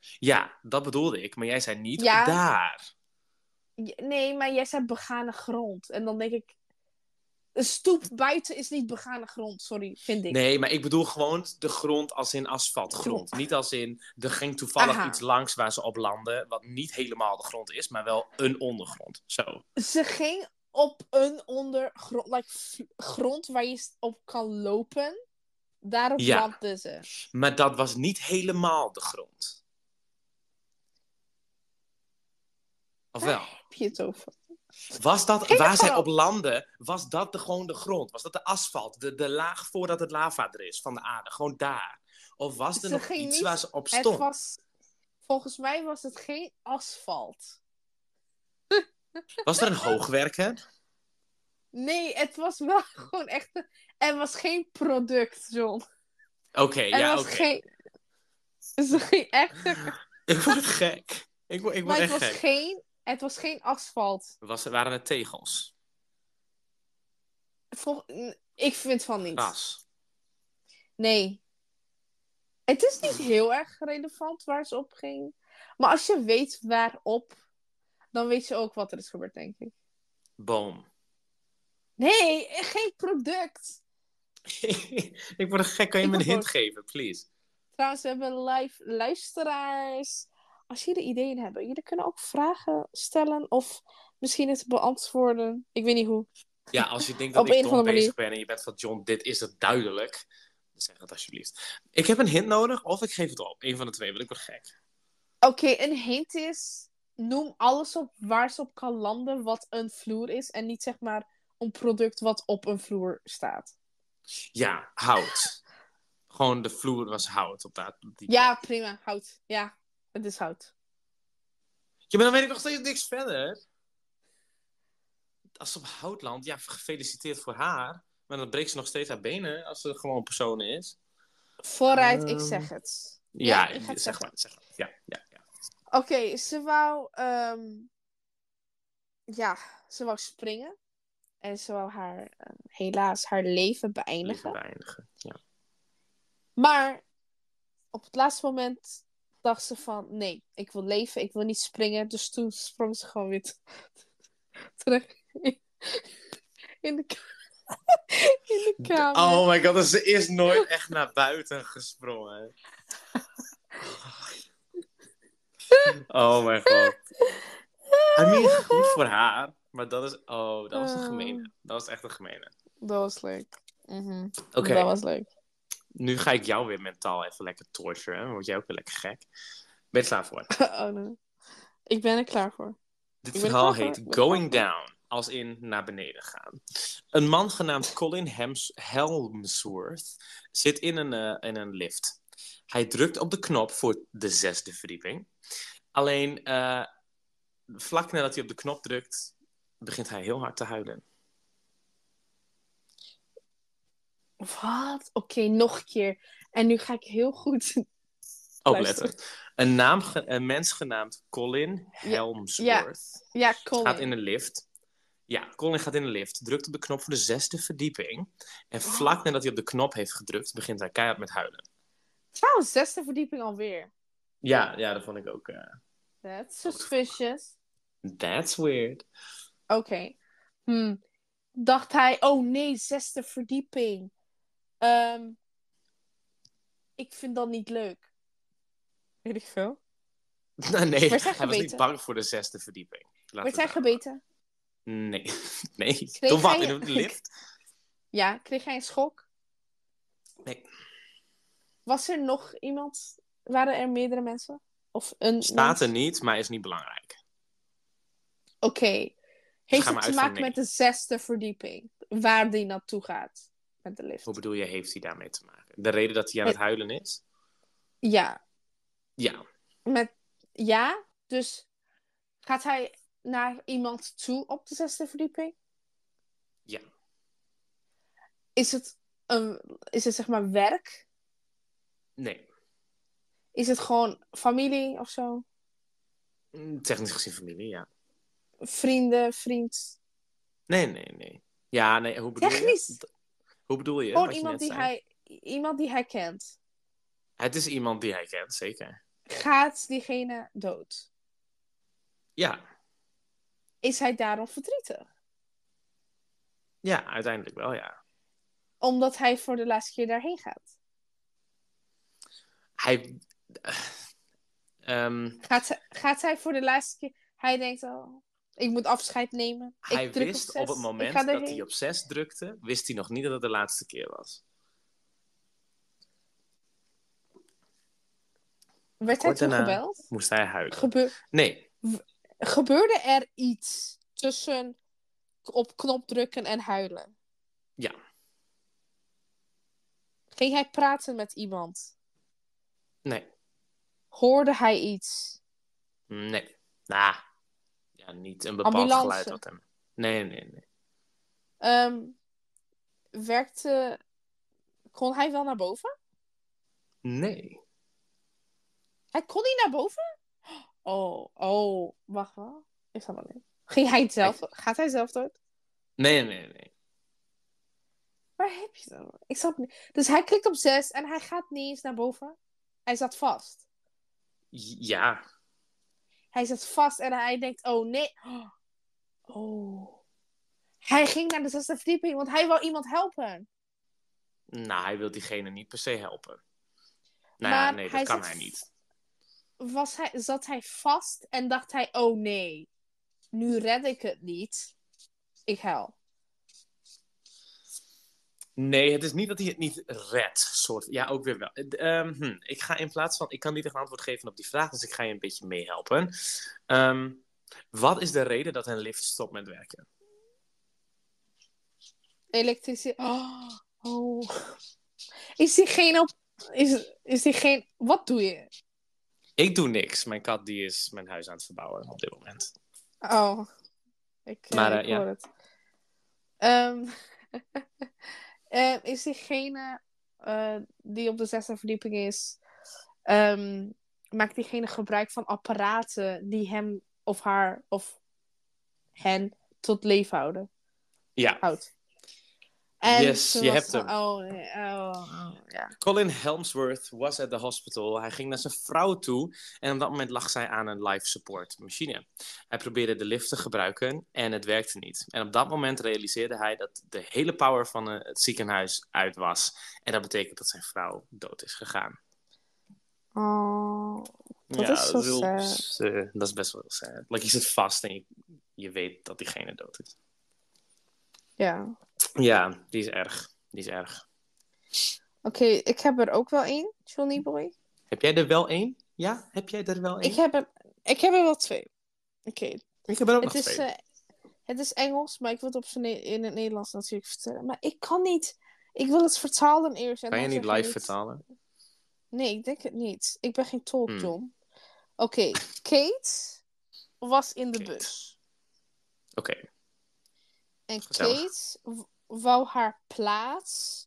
S2: Ja, dat bedoelde ik, maar jij zei niet
S1: Ja.
S2: daar.
S1: J- Nee, maar jij zei begane grond. En dan denk ik. Een stoep buiten is niet begane grond, sorry, vind ik.
S2: Nee, maar ik bedoel gewoon de grond als in asfaltgrond.
S1: Klopt.
S2: Niet als in, er ging toevallig
S1: Aha.
S2: iets langs waar ze op landen, wat niet helemaal de grond is, maar wel een ondergrond. Zo.
S1: Ze ging op een ondergrond, like, v- grond waar je s- op kan lopen. Daarop
S2: Ja.
S1: landde ze.
S2: Maar dat was niet helemaal de grond. Of wel?
S1: Daar heb je het over?
S2: Was dat
S1: Geen
S2: waar zij
S1: ervan.
S2: op landden, was dat de, gewoon de grond? Was dat de asfalt, de, de laag voordat het lava er is van de aarde? Gewoon daar? Of was er
S1: Ze
S2: nog
S1: ging
S2: iets
S1: niet-
S2: waar ze op
S1: Het
S2: stond?
S1: was. Volgens mij was het geen asfalt.
S2: Was er een hoogwerker?
S1: Nee, het was wel <laughs> gewoon echt. een- Er was geen product, John.
S2: Oké,
S1: Er
S2: ja,
S1: was
S2: oké.
S1: geen. <laughs> Ze ging echt
S2: Ik word gek. Ik, word- ik word
S1: Maar het
S2: echt
S1: was,
S2: gek.
S1: geen, het was geen asfalt.
S2: Was, waren het tegels?
S1: Vol- n- ik vind van niet.
S2: Gras?
S1: Nee. Het is niet heel erg relevant waar ze op ging. Maar als je weet waarop, dan weet je ook wat er is gebeurd, denk ik.
S2: Boom? <laughs>
S1: Nee, geen product.
S2: ik word gek. Kan je
S1: Ik
S2: me
S1: word
S2: een hint
S1: boos.
S2: geven, please?
S1: Trouwens, we hebben live luisteraars. Als jullie ideeën hebben, jullie kunnen ook vragen stellen of misschien het beantwoorden. Ik weet niet hoe.
S2: Ja, als je denkt dat
S1: Op
S2: ik
S1: een of
S2: dom
S1: andere
S2: bezig ben en je bent van John, dit is het duidelijk. Zeg het alsjeblieft. Ik heb een hint nodig of ik geef het op. Eén van de twee, want ik word gek.
S1: Oké, een hint is... Noem alles op waar ze op kan landen wat een vloer is. En niet zeg maar een product wat op een vloer staat.
S2: Ja, hout. Gewoon de vloer was hout op dat. die-
S1: Ja, prima. Hout. Ja, het is hout.
S2: Ja, maar dan weet ik nog steeds niks verder. Als ze op hout landt, ja, gefeliciteerd voor haar. Maar dan breekt ze nog steeds haar benen als ze gewoon een persoon is.
S1: Vooruit, ik
S2: Ehm,
S1: zeg het.
S2: Ja,
S1: ik ga het
S2: zeg
S1: zeggen.
S2: maar. Zeg maar. Ja, ja, ja.
S1: Oké, ze wou... ehm, Ja, ze wou springen. En ze wou haar, eh, helaas haar leven
S2: Liever
S1: beëindigen.
S2: weinigen. Ja.
S1: Maar op het laatste moment dacht ze van... Nee, ik wil leven, ik wil niet springen. Dus toen sprong ze gewoon weer <laughs> t- terug in, in de, ka- <laughs> in de kamer.
S2: Oh my god, dus ze is nooit echt naar buiten gesprongen. Oh my god. I mean, goed voor haar. Maar dat is... Oh, dat was een gemene. Dat was echt een gemene.
S1: Dat was leuk. Mhm.
S2: Oké.
S1: Dat was leuk. <laughs>
S2: nu ga ik jou weer mentaal even lekker torturen. Dan word jij ook weer lekker gek. Ben je klaar voor?
S1: Oh, nee. Ik ben er klaar voor.
S2: Dit
S1: ben er
S2: verhaal
S1: klaar voor.
S2: heet
S1: Ik ben er
S2: Going
S1: klaar
S2: Down. Als in naar beneden gaan. Een man genaamd Colin Hems- Helmsworth zit in een, eh, in een lift. Hij drukt op de knop voor de zesde verdieping. Alleen eh, vlak nadat hij op de knop drukt, begint hij heel hard te huilen.
S1: Wat? Oké, nog een keer. En nu ga ik heel goed. <laughs>
S2: Opletten. Oh, Een, naam, ge- een mens genaamd Colin
S1: Ja.
S2: Helmsworth.
S1: Ja, Colin.
S2: Gaat in een lift. Ja, Colin gaat in een lift, drukt op de knop voor de zesde verdieping.
S1: Oh.
S2: En vlak nadat hij op de knop heeft gedrukt, begint hij keihard met huilen.
S1: Trouwens, zesde verdieping alweer.
S2: Ja, ja dat vond ik ook. eh,
S1: That's suspicious.
S2: that's weird. <laughs>
S1: Oké. Hm. Dacht hij, oh nee, zesde verdieping. Ehm, ik vind dat niet leuk. Weet ik veel.
S2: Nou, nee,
S1: Werd hij
S2: hij was niet
S1: gebeten?
S2: bang voor de zesde verdieping. Laten
S1: Werd
S2: we
S1: hij
S2: daar-
S1: gebeten?
S2: Nee. <laughs> nee. Toen wat?
S1: hij-
S2: In de
S1: <laughs>
S2: lift?
S1: Ja, kreeg hij een schok?
S2: Nee.
S1: Was er nog iemand? Waren er meerdere mensen? Of een
S2: Staat
S1: mens?
S2: er niet, maar is niet belangrijk.
S1: Oké.
S2: Dus Ga
S1: Heeft het
S2: maar
S1: te
S2: uit
S1: maken
S2: van nee.
S1: met de zesde verdieping? Waar die naartoe gaat? Met de lift.
S2: Hoe bedoel je, heeft hij daarmee te maken? De reden dat hij aan het huilen is?
S1: Ja.
S2: Ja.
S1: Met... Ja? Dus gaat hij naar iemand toe op de zesde verdieping?
S2: Ja.
S1: Is het, een... Is het zeg maar werk?
S2: Nee.
S1: Is het gewoon familie of zo?
S2: Mm, Technisch gezien familie, ja.
S1: Vrienden, vriend?
S2: Nee, nee, nee. Ja, nee, hoe bedoel je?
S1: Technisch.
S2: Hoe bedoel je?
S1: Gewoon
S2: wat je
S1: iemand
S2: net
S1: die,
S2: zei?
S1: hij... iemand die hij kent.
S2: Het is iemand die hij kent, zeker.
S1: Gaat diegene dood?
S2: Ja,
S1: Is hij daarom verdrietig?
S2: ja uiteindelijk wel, ja.
S1: Omdat hij voor de laatste keer daarheen gaat.
S2: Hij. eh, Ehm,
S1: Gaat, ze- gaat hij voor de laatste keer... Hij denkt al, ik moet afscheid nemen.
S2: hij
S1: ik druk
S2: wist
S1: op, zes,
S2: op, het
S1: ik
S2: moment
S1: ga
S2: dat
S1: daarheen.
S2: hij op 6 drukte, wist hij nog niet dat het de laatste keer was.
S1: Werd hij
S2: Kort
S1: toen
S2: daarna-
S1: gebeld?
S2: Moest hij huilen?
S1: Gebeur-
S2: Nee,
S1: gebeurde er iets tussen op knop drukken en huilen?
S2: Ja.
S1: Ging hij praten met iemand?
S2: nee,
S1: Hoorde hij iets?
S2: nee. Nou, ja, niet een bepaald
S1: Ambulance.
S2: geluid dat hem. Nee, nee, nee.
S1: Ehm, werkte... Kon hij wel naar boven?
S2: Nee.
S1: Hij kon niet naar boven? Oh, oh, wacht wel. Ik snap het niet. Ging hij het zelf... Gaat hij zelf dood?
S2: Nee, nee, nee.
S1: Waar heb je het over? Ik snap het niet. Dus hij klikt op zes en hij gaat niet eens naar boven. Hij zat vast.
S2: Ja,
S1: Hij zat vast en hij denkt, oh nee. Oh. Hij ging naar de zesde verdieping, want hij wil iemand helpen.
S2: nou, hij wil diegene niet per se helpen. Nou ja,
S1: Maar
S2: nee, dat
S1: hij
S2: kan
S1: zat
S2: hij
S1: v-
S2: niet.
S1: Was hij, zat hij vast en dacht hij, oh nee. Nu red ik het niet. Ik huil.
S2: Nee, het is niet dat hij het niet redt. Soort. Ja, ook weer wel. Eh, ehm, hm, ik ga in plaats van. Ik kan niet echt een antwoord geven op die vraag, dus ik ga je een beetje meehelpen. Ehm, wat is de reden dat een lift stopt met werken?
S1: Elektriciteit. Oh. <gasps> oh. Is die geen op. Is, is die geen. Wat doe je?
S2: Ik doe niks. Mijn kat die is mijn huis aan het verbouwen op dit moment.
S1: Oh. Ik, eh,
S2: Maar, eh,
S1: ik
S2: ja.
S1: hoor het. Ehm, <laughs> eh, is diegene eh, die op de zesde verdieping is, ehm, maakt diegene gebruik van apparaten die hem of haar of hen tot leven houden?
S2: Ja,
S1: houdt?
S2: Yes,
S1: ze
S2: je
S1: was
S2: hebt
S1: van,
S2: hem.
S1: Oh, nee, oh, oh, ja.
S2: Colin Helmsworth was at the hospital. Hij ging naar zijn vrouw toe en op dat moment lag zij aan een life support machine. Hij probeerde de lift te gebruiken en het werkte niet. En op dat moment realiseerde hij dat de hele power van eh, het ziekenhuis uit was. En dat betekent dat zijn vrouw dood is gegaan.
S1: Oh. Dat is zo
S2: heel
S1: sad.
S2: eh, dat is best wel sad. Like, je zit vast en je, je weet dat diegene dood is.
S1: Ja.
S2: Ja, die is erg. Die is erg.
S1: Oké, ik heb er ook wel één, Johnny Boy.
S2: Heb jij er wel één? Ja, heb jij er wel één?
S1: Ik heb er, ik heb er wel twee. Oké,
S2: Ik heb er ook
S1: het is,
S2: nog twee.
S1: eh, het is Engels, maar ik wil het op z'n Ne- in het Nederlands natuurlijk vertellen. Maar ik kan niet. Ik wil het vertalen eerst. en
S2: kan je
S1: dan
S2: niet
S1: zeg ik
S2: live vertalen?
S1: Nee, ik denk het niet. Ik ben geen tolk,
S2: Hmm.
S1: John. Oké, Kate was in de
S2: Kate.
S1: bus.
S2: Oké.
S1: En
S2: Gezellig.
S1: Kate w- wou haar plaats,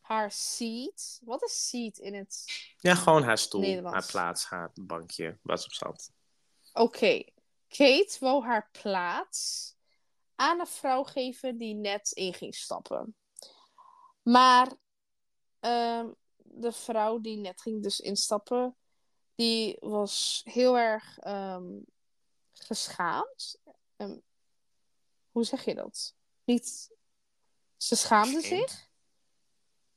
S1: haar seat. Wat is seat in het
S2: Ja, gewoon haar stoel,
S1: Nederlands.
S2: haar plaats, haar bankje, wat ze op zat.
S1: Oké. Kate wou haar plaats aan een vrouw geven die net in ging stappen. Maar ehm, de vrouw die net ging dus instappen, die was heel erg ehm, geschaamd. Ehm, hoe zeg je dat? Niet. Ze schaamde
S2: Ashamed.
S1: zich?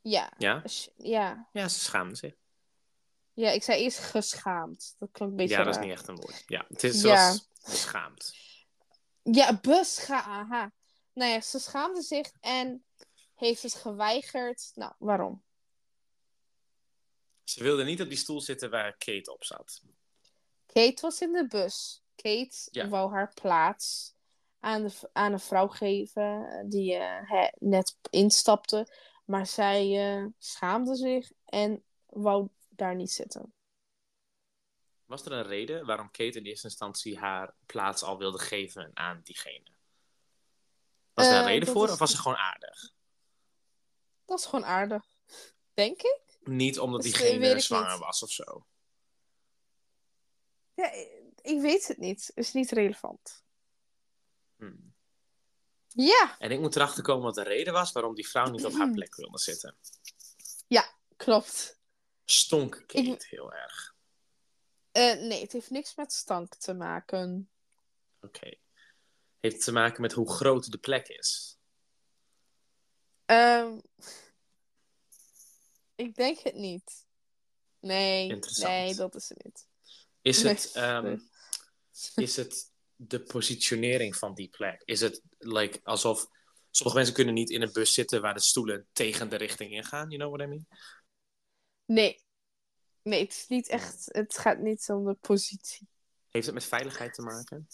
S1: Ja.
S2: Ja?
S1: Ash- Ja.
S2: Ja, ze schaamde zich.
S1: Ja, ik zei eerst geschaamd. Dat klinkt een beetje
S2: Ja, dat is
S1: raar.
S2: niet echt een woord. Ja, het is
S1: Ja.
S2: zoals geschaamd.
S1: Ja, bescha. Aha. Nou ja, ze schaamde zich en heeft het geweigerd. Nou, waarom?
S2: Ze wilde niet op die stoel zitten waar Kate op zat.
S1: Kate was in de bus. Kate
S2: Ja.
S1: wou haar plaats aan, de, v- aan een vrouw geven die eh, hè, net instapte. Maar zij eh, schaamde zich en wou daar niet zitten.
S2: Was er een reden waarom Kate in eerste instantie haar plaats al wilde geven aan diegene? Was daar een
S1: Eh,
S2: reden
S1: dat
S2: voor
S1: is-
S2: of was ze gewoon aardig?
S1: Dat is gewoon aardig, denk ik.
S2: Niet omdat
S1: Dus, eh, weet
S2: diegene
S1: ik
S2: zwanger
S1: niet.
S2: was of zo.
S1: Ja, ik- ik weet het niet. Is niet relevant.
S2: Hm.
S1: Ja,
S2: En ik moet erachter komen wat de reden was waarom die vrouw niet op
S1: <clears throat>
S2: haar plek wilde zitten.
S1: klopt.
S2: Stonk Kate
S1: Ik-
S2: heel erg.
S1: Eh, nee, het heeft niks met stank te maken.
S2: Oké. Heeft te maken met hoe groot de plek is.
S1: Ehm, ik denk het niet. Nee,
S2: Interessant.
S1: nee, dat is het niet.
S2: Is
S1: Nee,
S2: het, ehm,
S1: nee.
S2: is het de positionering van die plek? Is het like, alsof sommige mensen kunnen niet in een bus zitten waar de stoelen tegen de richting ingaan? You know what I mean?
S1: Nee. Nee, het is niet echt. Het gaat niet om de positie.
S2: Heeft het met veiligheid te maken?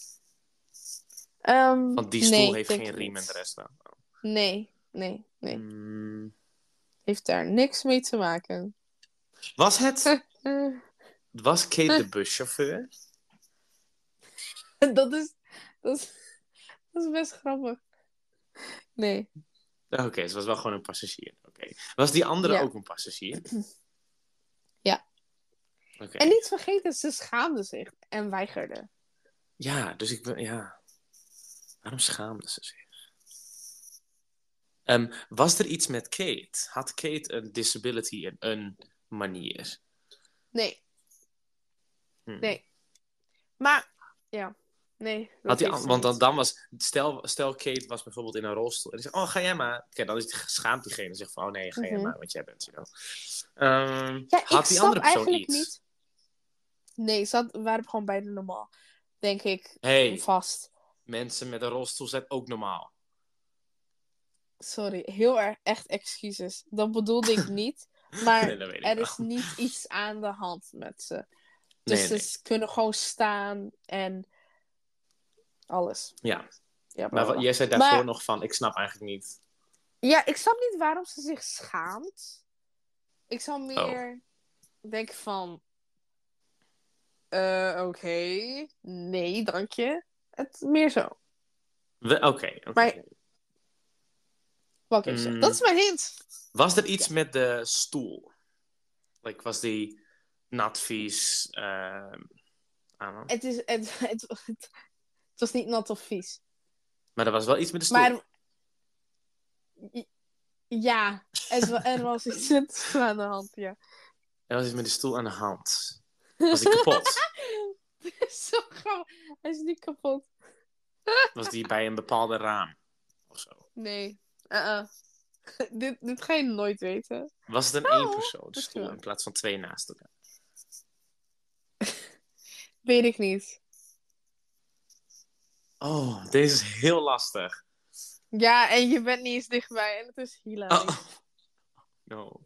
S1: Ehm,
S2: Want die
S1: nee,
S2: stoel
S1: ik
S2: heeft
S1: denk
S2: geen
S1: het
S2: riem en
S1: niet.
S2: de rest wel.
S1: Nee, nee, nee.
S2: Mm.
S1: Heeft daar niks mee te maken. <laughs>
S2: Was het,
S1: Eh,
S2: was Kate de buschauffeur?
S1: dat, is, dat is. Dat is best grappig. Nee.
S2: Oké, ze was wel gewoon een passagier. Oké. Was die andere
S1: Ja.
S2: ook een passagier?
S1: <clears throat> Ja.
S2: Oké.
S1: En niet vergeten, ze schaamde zich en weigerde.
S2: Ja, dus ik ben. Ja. Waarom schaamde ze zich? Ehm, was er iets met Kate? Had Kate een disability en een manier?
S1: Nee,
S2: Hm.
S1: Nee. maar. Ja, nee. dat
S2: Had die,
S1: heeft
S2: an-
S1: ze
S2: want dan,
S1: niet.
S2: dan was. Stel, stel, Kate was bijvoorbeeld in een rolstoel. En die zei: Oh, ga jij maar. Oké, dan is die geschaamd diegene. en Zegt van: Oh nee, ga jij
S1: Mhm.
S2: maar, want jij bent. You know. Ehm,
S1: Ja, ik
S2: had die
S1: snap
S2: andere persoon
S1: eigenlijk
S2: iets?
S1: niet. Nee, ze had, waren gewoon beide normaal. Denk ik.
S2: Hé, hey,
S1: Vast.
S2: mensen met een rolstoel zijn ook normaal.
S1: sorry, heel erg echt excuses. Dat bedoelde
S2: <laughs>
S1: ik niet. Maar
S2: nee, dat weet ik
S1: er
S2: wel.
S1: is niet iets aan de hand met ze. Dus
S2: Nee, nee.
S1: ze kunnen gewoon staan en alles.
S2: Ja,
S1: Ja,
S2: maar
S1: blablabla.
S2: wat- jij zei daarvoor
S1: Maar-
S2: nog van, ik snap eigenlijk niet.
S1: ja, ik snap niet waarom ze zich schaamt. Ik zou meer denken van... eh, Oké, nee, dank je. Het, meer zo.
S2: We- Oké, oké.
S1: Maar- Wat ik even zeg.
S2: Mm.
S1: Dat is mijn hint.
S2: Was er iets met de stoel? Like, was die nat, vies? ehm, I don't know.
S1: Het, is, het, het, het was niet nat of vies.
S2: Maar er was wel iets met de stoel.
S1: Maar... Ja, het wa- er was
S2: <laughs>
S1: iets met- aan de hand, ja.
S2: Er was iets met de stoel aan de hand. Was die kapot?
S1: <laughs> Zo grappig. Hij is niet kapot.
S2: was die bij een bepaalde raam? Of zo.
S1: Nee. Uh-uh. <laughs> dit, dit ga je nooit weten.
S2: Was het een
S1: Nou,
S2: één persoon
S1: misschien
S2: stoel
S1: wel.
S2: in plaats van twee naast elkaar?
S1: Weet ik niet.
S2: Oh, deze is heel lastig.
S1: Ja, en je bent niet eens dichtbij. En het is hilarisch.
S2: Oh. No.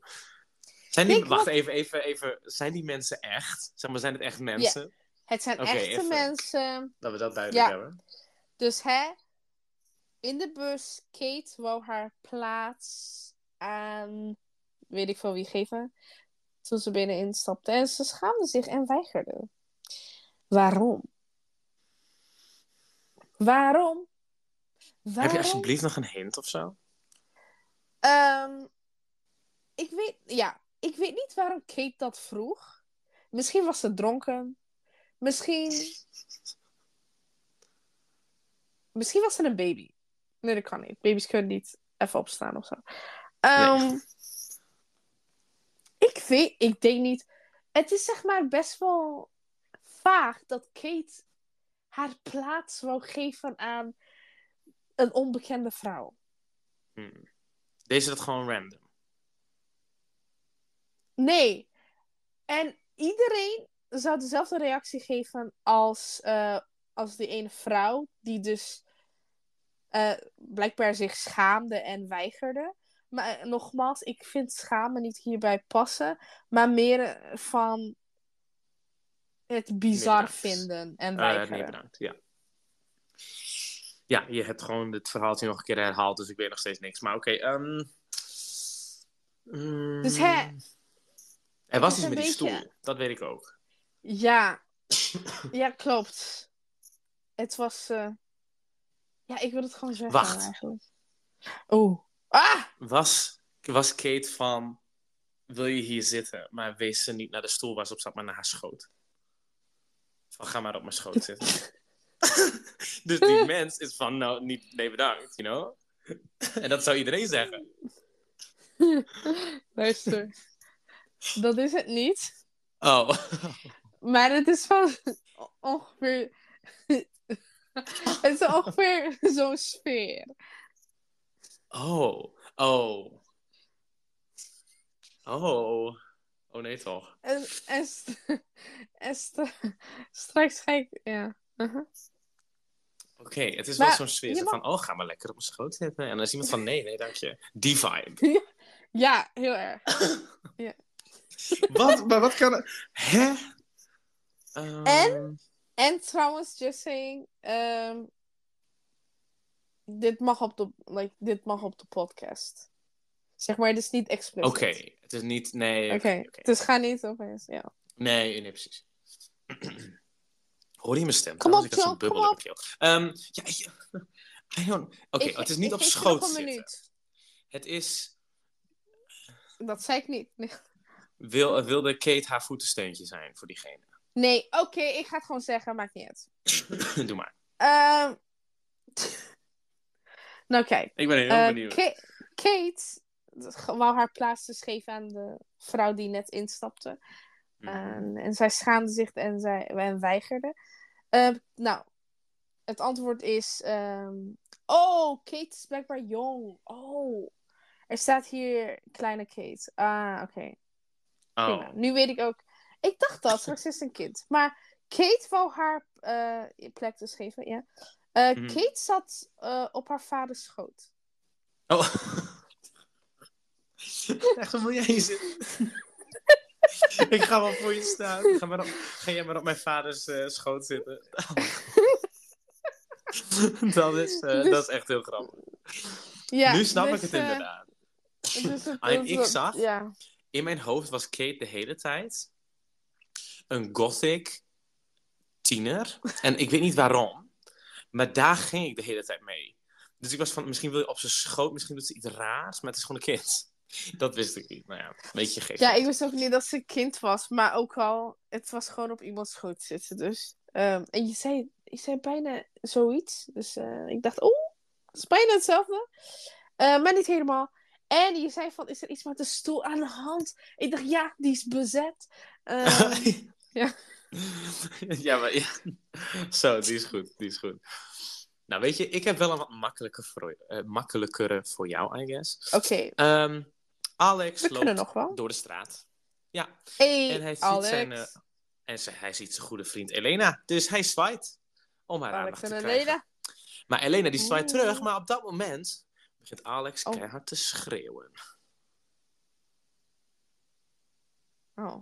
S2: Zijn die,
S1: Denk
S2: wacht,
S1: wat-
S2: even, even, even. Zijn die mensen echt? Zeg maar, zijn het echt mensen?
S1: Het zijn
S2: Oké,
S1: echte
S2: even.
S1: mensen.
S2: Dat we dat duidelijk
S1: Ja.
S2: hebben.
S1: Dus hè, in de bus, Kate wou haar plaats aan weet ik veel wie geven. Toen ze binnen instapte en ze schaamde zich en weigerde. Waarom? Waarom? Waarom?
S2: Heb je alsjeblieft nog een hint of zo?
S1: Ehm, ik weet, ja, ik weet niet waarom Kate dat vroeg. Misschien was ze dronken. Misschien. Misschien was ze een baby. Nee, dat kan niet. Baby's kunnen niet even opstaan of zo. Ehm, Ik weet, ik denk niet. Het is zeg maar best wel vaag dat Kate haar plaats wou geven aan een onbekende vrouw.
S2: Hmm. Deze dat gewoon random.
S1: Nee. En iedereen zou dezelfde reactie geven als, eh, als die ene vrouw, die dus eh, blijkbaar zich schaamde en weigerde. Maar eh, nogmaals, ik vind schamen niet hierbij passen, maar meer eh, van het bizar
S2: bedankt.
S1: vinden en
S2: Eh,
S1: weigeren.
S2: nee, bedankt. Ja. ja, je hebt gewoon dit verhaaltje nog een keer herhaald, dus ik weet nog steeds niks. Maar oké. ehm, mm,
S1: Dus hè,
S2: Er was
S1: is
S2: iets
S1: een
S2: met die
S1: beetje-
S2: stoel, dat weet ik ook.
S1: Ja, ja, klopt. Het was. eh, Ja, ik wil het gewoon zeggen
S2: Wacht.
S1: eigenlijk. Oh. Ah!
S2: Was, was Kate van. Wil je hier zitten? Maar wees ze niet naar de stoel waar ze op zat, maar naar haar schoot. Van ga maar op mijn schoot zitten. <laughs> dus
S1: <laughs>
S2: die mens is van, nou, niet, nee bedankt, you know? en dat zou iedereen zeggen.
S1: Luister. Dat is het niet.
S2: Oh.
S1: Maar het is van <laughs> ongeveer. <laughs> het is ongeveer zo'n sfeer.
S2: Oh. Oh. Oh. Oh nee toch.
S1: En, en, st- <laughs> en st- straks ga ik. Ja. Uh-huh.
S2: Oké, het is wel
S1: Maar
S2: zo'n sfeer.
S1: je
S2: zo
S1: mag-
S2: Van, oh, ga maar lekker op mijn schoot zitten. En dan is iemand van, nee, nee, dank je. Die vibe.
S1: Ja, heel erg.
S2: Wat? Maar wat kan er... Hè? Ehm,
S1: En? En trouwens, just saying. ehm, dit, mag op de, like, dit mag op de podcast. Zeg maar, het is niet
S2: Oké,
S1: expliciet.
S2: het is niet... Nee, oké.
S1: Oké,
S2: oké.
S1: dus ga niet op eens. Ja.
S2: Nee, nee, precies. Hoor je mijn stem?
S1: Kom
S2: Trouwens,
S1: op,
S2: ik had zo'n
S1: John,
S2: bubbel
S1: kom
S2: in mijn keel. Ehm, ja, ja. I don't... Oké,
S1: Ik-
S2: het is niet
S1: ik
S2: op
S1: geef je
S2: schoot
S1: nog een
S2: zitten.
S1: minuut.
S2: Het is...
S1: Dat zei ik niet. Nee.
S2: Wil, eh, wilde Kate haar voetensteuntje zijn voor diegene?
S1: Nee, oké, ik ga het gewoon zeggen, maakt niet uit.
S2: <coughs> Doe maar.
S1: Ehm, <laughs> nou, kijk.
S2: Ik ben heel
S1: eh,
S2: benieuwd.
S1: Ka- Kate wou haar plaats dus geven aan de vrouw die net instapte.
S2: Hm. Mhm.
S1: En, en zij schaamde zich en, zij, en weigerde. Ehm, nou, het antwoord is... ehm, oh, Kate is blijkbaar jong. Oh, er staat hier kleine Kate. Ah, oké.
S2: oh.
S1: Prima. Nu weet ik ook. Ik dacht
S2: <laughs>
S1: dat, straks is ze een kind. Maar Kate wou haar eh, plek dus geven. Ja. Eh,
S2: Mhm.
S1: Kate zat eh, op haar vaders schoot.
S2: Oh. <laughs> Echt, wat wil jij hier zitten? <laughs> ik ga wel voor je staan. Ga, maar op, ga jij maar op mijn vaders eh, schoot
S1: <laughs>
S2: zitten. <laughs> dat, is, eh,
S1: Dus-
S2: dat is echt heel grappig.
S1: Ja,
S2: nu snap ik
S1: dus,
S2: het
S1: eh,
S2: inderdaad.
S1: dus het-
S2: Alleen ik
S1: het-
S2: zag-
S1: Ja.
S2: In mijn hoofd was Kate de hele tijd een gothic tiener. En ik weet niet waarom, maar daar ging ik de hele tijd mee. Dus ik was van, misschien wil je op zijn schoot, misschien doet ze iets raars, maar het is gewoon een kind. Dat wist ik niet. Nou ja, een beetje gek. <laughs>
S1: ja, ik wist ook niet dat ze een kind was, maar ook al, het was gewoon op iemands schoot zitten. Dus. Ehm, en je zei, je zei bijna zoiets. Dus eh, ik dacht, oeh, het is bijna hetzelfde. Eh, maar niet helemaal. En je zei van, is er iets met de stoel aan de hand? Ik dacht, ja, die is bezet.
S2: <laughs>
S1: Ehm, ja.
S2: ja, maar ja. Zo, die is goed, die is goed. Nou, weet je, ik heb wel een wat makkelijker voor, eh, makkelijkere voor jou, I guess.
S1: Oké,
S2: Ehm, Alex
S1: we kunnen
S2: loopt
S1: nog wel.
S2: door de straat. Ja,
S1: Hey,
S2: En hij ziet
S1: Alex.
S2: zijn, eh, En ze, hij ziet zijn goede vriend Elena. Dus hij zwaait om haar
S1: Alex
S2: aandacht te
S1: en
S2: krijgen.
S1: Elena.
S2: Maar Elena die zwaait
S1: Oeh.
S2: terug. Maar op dat moment begint Alex
S1: Oh.
S2: keihard te schreeuwen.
S1: Oh.
S2: <laughs>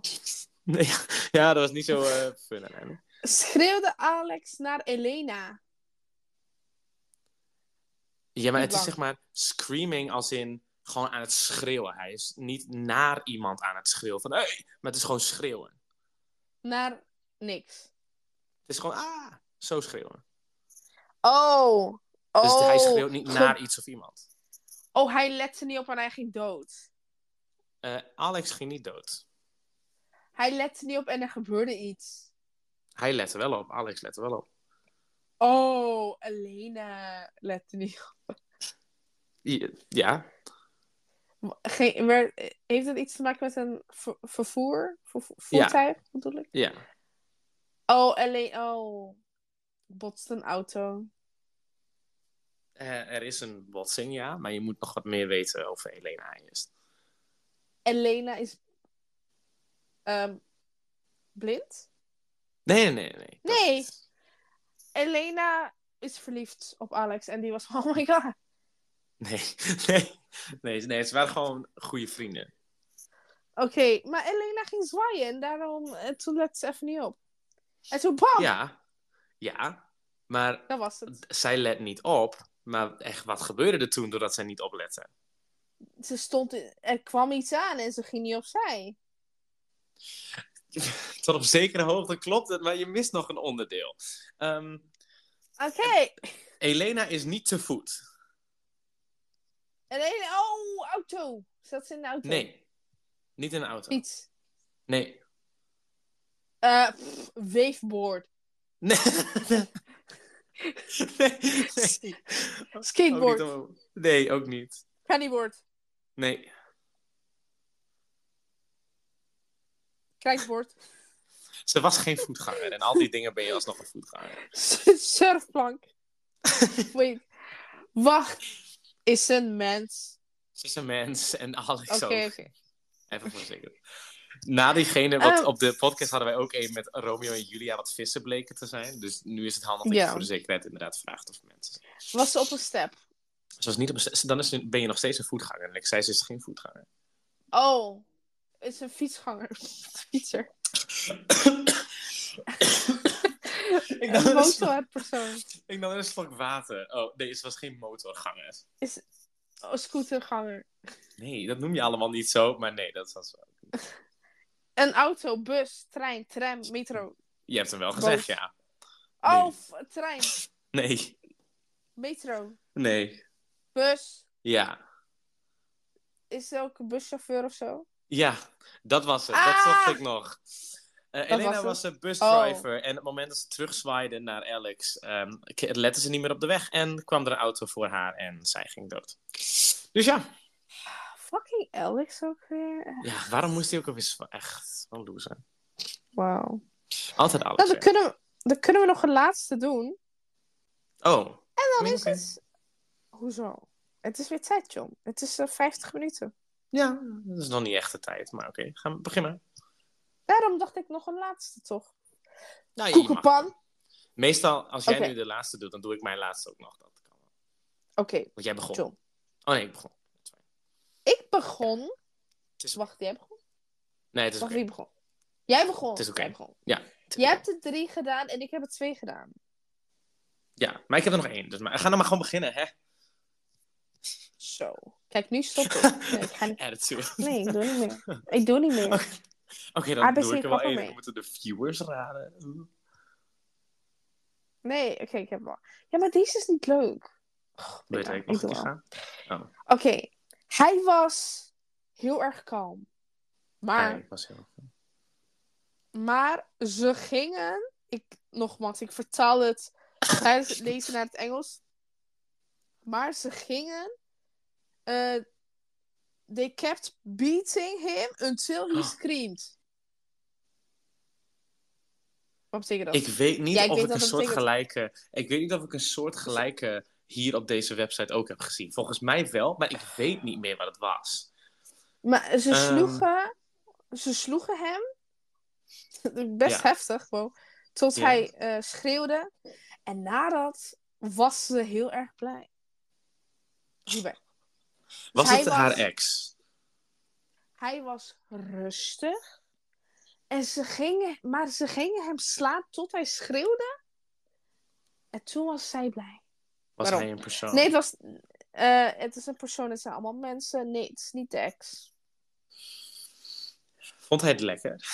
S2: Nee, ja, ja, dat was niet zo eh fun aan hem.
S1: Schreeuwde Alex naar Elena.
S2: Ja, maar
S1: Niet
S2: het is
S1: lang.
S2: zeg maar screaming als in gewoon aan het schreeuwen. Hij is niet naar iemand aan het schreeuwen van hey! maar het is gewoon schreeuwen.
S1: Naar niks.
S2: Het is gewoon ah, zo schreeuwen.
S1: Oh. Oh.
S2: Dus hij schreeuwt niet
S1: Ge- <laughs>
S2: naar iets of iemand.
S1: Oh, hij lette niet op en hij ging dood.
S2: Eh, Alex ging niet dood.
S1: Hij lette niet op en er gebeurde iets.
S2: Hij lette wel op. Alex lette wel op.
S1: Oh, Elena lette niet op.
S2: Ja, Ja,
S1: Geen, maar, eh, heeft dat iets te maken met een ver- vervoer? Vervo- voertuig bedoel ik?
S2: ja.
S1: Oh, Elena. Oh. Botst een auto.
S2: Eh, er is een botsing, ja, maar je moet nog wat meer weten over Elena eerst.
S1: Elena is. ehm, blind?
S2: Nee, nee, nee. dat-
S1: Nee. Elena is verliefd op Alex en die was van, <laughs> oh my god.
S2: Nee, <laughs> nee, nee, nee, ze waren gewoon goede vrienden.
S1: Oké, maar Elena ging zwaaien en daarom, en toen lette ze even niet op. En toen bam,
S2: Ja, ja, maar
S1: dat was het.
S2: zij let niet op. Maar echt, wat gebeurde er toen doordat zij niet oplette?
S1: Ze stond, in- er kwam iets aan en ze ging niet opzij.
S2: <laughs> Tot op zekere hoogte klopt het, maar je mist nog een onderdeel. Ehm,
S1: Oké,
S2: Elena is niet te voet.
S1: Elena, oh, auto. Zat ze in de auto?
S2: Nee, niet in een auto.
S1: Fiets.
S2: Nee.
S1: Eh, pff, waveboard.
S2: Nee. <laughs> nee, nee.
S1: Skateboard.
S2: Ook Oh, niet om- Nee, ook niet.
S1: Pennyboard.
S2: Nee.
S1: Krijtboard.
S2: Ze was geen voetganger. En al die dingen ben je alsnog een voetganger.
S1: <laughs> Surfplank.
S2: <laughs>
S1: Wait. Wacht. Is ze een mens?
S2: Ze is een mens en Alex
S1: Oké,
S2: ook.
S1: oké.
S2: Even voor zeker. Na diegene, want
S1: Eh.
S2: op de podcast hadden wij ook een met Romeo en Julia wat vissen bleken te zijn. Dus nu is het handig dat je
S1: Ja.
S2: voor de zekerheid inderdaad vraagt of mensen zijn.
S1: Was ze op een step?
S2: Zoals niet op, een st- dan is, ze- ben je nog steeds een voetganger. En ik zei, ze is geen
S1: <coughs>
S2: voetganger.
S1: Oh, is een fietsganger. <laughs> Fietser.
S2: <laughs> ik,
S1: Een motorpersoon.
S2: ik nam een slok water. Oh, nee, ze was geen motorganger.
S1: Oh, scooterganger.
S2: Nee, dat noem je allemaal niet zo, maar nee, dat was wel.
S1: Een auto, bus, trein, tram, metro.
S2: Je hebt hem wel gezegd,
S1: Boot.
S2: ja.
S1: Oh,
S2: Nee.
S1: f- trein,
S2: Nee,
S1: metro,
S2: nee,
S1: bus.
S2: ja.
S1: Is er ook een buschauffeur of zo?
S2: Ja, dat was het. Dat
S1: Ah!
S2: zocht ik nog. Eh,
S1: was
S2: Elena was,
S1: het. Oh.
S2: de busdriver. En op het moment dat ze terugzwaaide naar Alex, ehm, k- lette ze niet meer op de weg. En kwam er een auto voor haar en zij ging dood. Dus ja,
S1: Fucking Alex ook weer.
S2: ja waarom moest hij ook alweer zwa- echt wel loser?
S1: Wauw.
S2: Altijd Alex.
S1: Nou, dan
S2: hè?
S1: kunnen, we, dan kunnen we nog een laatste doen.
S2: Oh. En
S1: Dan is het... Hoezo? Het is weer tijd, John. Het is eh, 50 minuten.
S2: Ja, dat is nog niet echt de tijd, maar oké, gaan we beginnen.
S1: Daarom dacht ik nog een laatste, toch?
S2: Nou, je mag.
S1: Koekenpan. Oké.
S2: Meestal, als jij
S1: Oké.
S2: nu de laatste doet, dan doe ik mijn laatste ook nog. Dat kan wel. Want jij begon.
S1: John.
S2: Oh nee, ik begon.
S1: Ik begon.
S2: is-
S1: Wacht, jij begon?
S2: Nee, het is
S1: Wacht,
S2: oké.
S1: wie begon? Jij begon.
S2: Het is oké.
S1: Jij begon.
S2: Het is
S1: Jij
S2: oké.
S1: hebt er drie gedaan en ik heb er twee gedaan.
S2: Ja, maar ik heb er nog één. Dus maar, ga nou maar gewoon beginnen, hè?
S1: Zo. Kijk, nu stop
S2: <laughs>
S1: ik. Nee, ik ga niet...
S2: Ja, dat zullen we-
S1: nee, ik doe niet
S2: <laughs>
S1: meer. Ik doe niet meer.
S2: Oké, dan
S1: ABC
S2: doe ik er wel
S1: kapper
S2: één.
S1: mee.
S2: Dan moeten de viewers raden.
S1: Nee, oké, ik heb wel. Ja, maar deze is dus niet leuk. Och,
S2: Weet
S1: prima,
S2: ik, Ah, mag
S1: doe
S2: ik
S1: wel.
S2: gaan?
S1: Oké, hij was heel erg kalm. Maar,
S2: Nee, ik was heel...
S1: maar ze gingen. Ik, nogmaals, ik vertaal het tijdens het lezen naar het Engels. Maar ze gingen. eh, they kept beating him until he
S2: Oh.
S1: screamed. Wat betekent dat?
S2: Ik weet niet
S1: Ja, ik
S2: of
S1: weet
S2: ik
S1: wat
S2: een
S1: dat
S2: soort
S1: betekent.
S2: gelijke. Ik weet niet of ik een soort gelijke hier op deze website ook heb gezien. Volgens mij wel, maar ik weet niet meer wat het was.
S1: Maar ze
S2: Ehm.
S1: sloegen, ze sloegen hem, <laughs> best
S2: Ja.
S1: heftig gewoon, tot
S2: Ja.
S1: hij eh, schreeuwde. En nadat was ze heel erg blij. Hierbij.
S2: Was
S1: Zij
S2: het
S1: was-
S2: haar ex?
S1: Hij was rustig. En ze gingen, maar ze gingen hem slaan tot hij schreeuwde. En toen was zij blij.
S2: Was
S1: Waarom?
S2: hij een persoon?
S1: Nee, het was, eh, het is een persoon, het zijn allemaal mensen. Nee, het is niet de ex.
S2: Vond hij het lekker?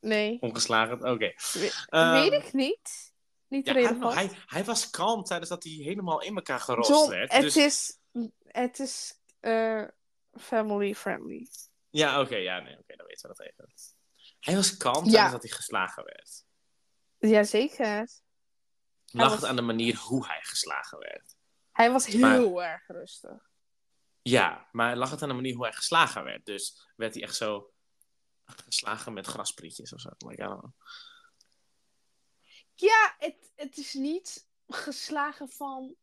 S1: Nee,
S2: Ongeslagen? Oké.
S1: We-
S2: Ehm,
S1: weet ik niet. Niet
S2: ja, I don't
S1: relevant.
S2: know. hij, hij was kalm tijdens dat hij helemaal in elkaar gerost
S1: John,
S2: werd.
S1: het
S2: Dus...
S1: is, het is eh, family friendly.
S2: Ja, oké, ja, nee, oké, dan weten we dat even. Hij was kalm
S1: Ja.
S2: tijdens dat hij geslagen werd.
S1: Jazeker.
S2: Lag het
S1: was-
S2: aan de manier hoe hij geslagen werd?
S1: Hij was
S2: Maar-
S1: heel erg rustig.
S2: Ja, maar lag het aan de manier hoe hij geslagen werd. Dus werd hij echt zo geslagen met grasprietjes of zo. Like, I don't know.
S1: Ja, het, het is niet geslagen van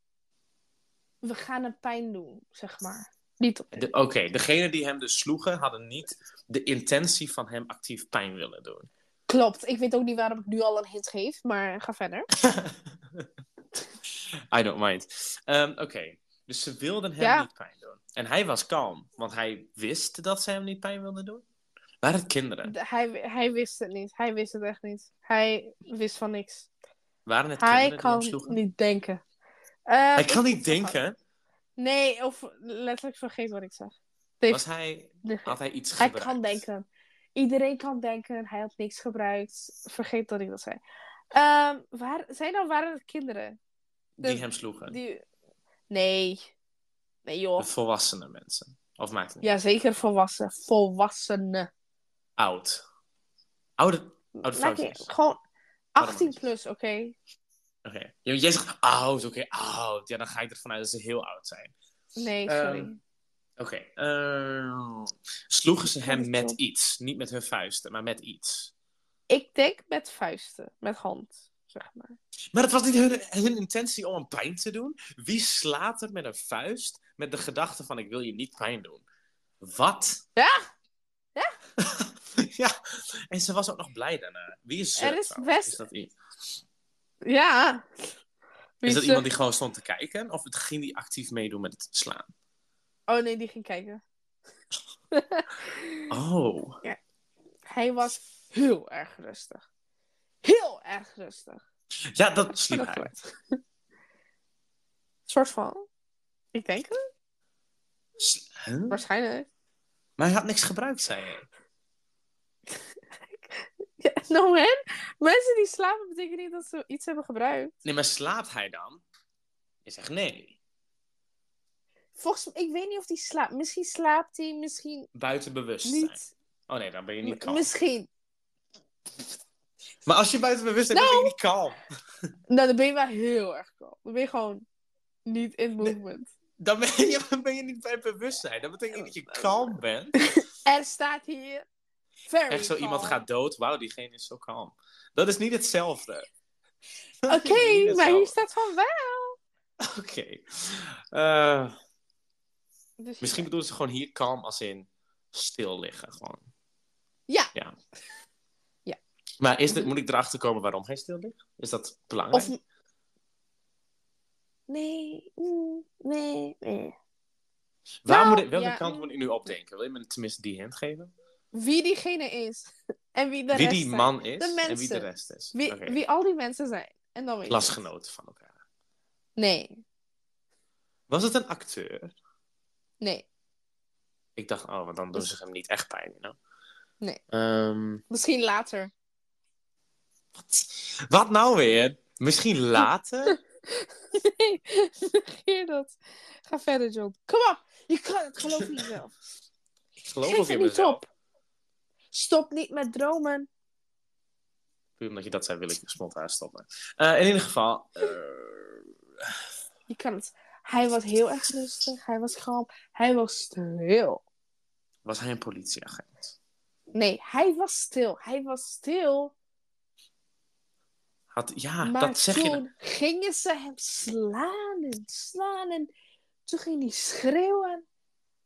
S1: we gaan hem pijn doen, zeg maar. Niet op.
S2: De- Oké, degene die hem dus sloegen hadden niet de intentie van hem actief pijn willen doen.
S1: Klopt. Ik weet ook niet waarom ik nu al een hint geef, maar ga verder.
S2: <laughs> I don't mind. Ehm, Oké, dus ze wilden hem
S1: Ja.
S2: niet pijn doen. En hij was kalm, want hij wist dat ze hem niet pijn wilden doen. Waren het kinderen?
S1: De- hij, hij wist het niet. Hij wist het echt niet. Hij wist van niks.
S2: Waren het
S1: Hij
S2: kinderen die hem
S1: kan
S2: sloegen?
S1: niet denken. Eh,
S2: Hij kan
S1: ik-
S2: niet denken.
S1: Nee, of letterlijk vergeet wat ik zeg. Dit-
S2: Was hij,
S1: dit-
S2: had hij iets
S1: Hij
S2: gebruikt?
S1: kan denken. Iedereen kan denken. Hij had niks gebruikt. Vergeet dat ik dat zei. Ehm, waar, zijn dan waren het kinderen?
S2: Die hem sloegen.
S1: Dus Die... Nee. Nee joh.
S2: De volwassene mensen. Of maakt het niet
S1: Ja, zeker volwassen. Volwassenen.
S2: Oud. Oude, oude
S1: Maakt niet-
S2: vrouwtjes. Oké.
S1: Gewoon 18
S2: mannetjes.
S1: plus, oké.
S2: Ja, Jij zegt oud, oké, oud. Ja, dan ga ik ervan uit dat ze heel oud zijn.
S1: Nee, sorry.
S2: Ehm, Oké. ehm, sloegen ze
S1: Dat
S2: hem
S1: is
S2: met
S1: top.
S2: iets. Niet met hun vuisten, maar met iets.
S1: Ik denk met vuisten. Met hand, zeg maar.
S2: Maar het was niet hun, hun intentie om hem pijn te doen. Wie slaat er met een vuist met de gedachte van ik wil je niet pijn doen? Wat? <laughs>
S1: Ja,
S2: ja. En ze was ook nog blij daarna. Wie is ze
S1: Er is
S2: trouwens?
S1: best-
S2: Is dat, i-
S1: ja. Wie
S2: is dat
S1: ze-
S2: iemand die gewoon stond te kijken? Of het ging die actief meedoen met het slaan?
S1: Oh nee, die ging kijken. <laughs>
S2: Oh.
S1: Hij was heel erg rustig. Heel erg rustig.
S2: Ja, dat sliep
S1: Dat
S2: hij.
S1: wordt. <laughs> soort van. Ik denk het,
S2: S- huh?
S1: waarschijnlijk.
S2: Maar hij had niks gebruikt, zei hij.
S1: Ja, <laughs> no man. Mensen die slapen betekent niet dat ze iets hebben gebruikt.
S2: Nee, maar slaapt hij dan? Je zegt nee.
S1: Volgens mij, ik weet niet of die slaapt. Misschien slaapt hij, misschien
S2: Buiten bewustzijn.
S1: niet.
S2: Oh nee, dan ben je niet
S1: M-
S2: kalm.
S1: Misschien.
S2: Maar als je buiten bewustzijn bent, ben je niet kalm.
S1: Nou, dan ben je wel heel erg kalm. Dan ben je gewoon niet in movement.
S2: Dan ben je, <laughs> dan ben je niet bij bewustzijn. Dat betekent niet
S1: Oh,
S2: dat je kalm bent.
S1: Er staat hier. Very
S2: Echt zo iemand
S1: calm.
S2: gaat dood. Wauw, diegene is zo kalm. Dat is niet hetzelfde.
S1: <laughs> Oké,
S2: <laughs> Dat is niet
S1: maar hier
S2: hetzelfde.
S1: staat van wel.
S2: Oké. Eh,
S1: Dus
S2: misschien bedoelen ze gewoon hier kalm als in stil liggen. Gewoon.
S1: Ja.
S2: Ja.
S1: Ja. Mhm.
S2: Maar is dit, moet ik erachter komen waarom hij stil ligt? Is dat belangrijk?
S1: Of... nee, mm, nee, nee.
S2: Waar
S1: Nou,
S2: moet ik, welke
S1: ja,
S2: kant
S1: mm.
S2: moet ik nu opdenken? Wil je me tenminste die hint geven?
S1: Wie diegene is <laughs> en wie de
S2: wie
S1: rest
S2: die
S1: zijn.
S2: man is
S1: De
S2: en wie de
S1: mensen.
S2: rest is.
S1: Wie,
S2: Oké.
S1: wie al die mensen zijn. En dan weet je het.
S2: Klasgenoten van elkaar.
S1: Nee,
S2: Was het een acteur?
S1: nee.
S2: Ik dacht, oh, want dan doen ze hem niet echt pijn. You know?
S1: Dus- Nee.
S2: Ehm,
S1: Misschien later. <laughs>
S2: wat nou weer?
S1: <laughs>
S2: Misschien later?
S1: Nee, negeer dat. Ga verder, John. Kom op. Je kan het. Geloof in jezelf.
S2: Ik geloof ook
S1: Geef
S2: in
S1: het niet
S2: mezelf.
S1: op. Stop niet met dromen.
S2: Puur omdat je dat zei, wil ik je spontaan stoppen. Eh, in ieder geval... eh,
S1: Je kan het. Hij was heel erg rustig. Hij was kalm. Hij was stil.
S2: was hij een politieagent?
S1: Nee, hij was stil. Hij was stil.
S2: Had, ja,
S1: maar
S2: Ah, dat zeg je... nou.
S1: toen gingen ze hem slaan en slaan. En toen ging hij schreeuwen.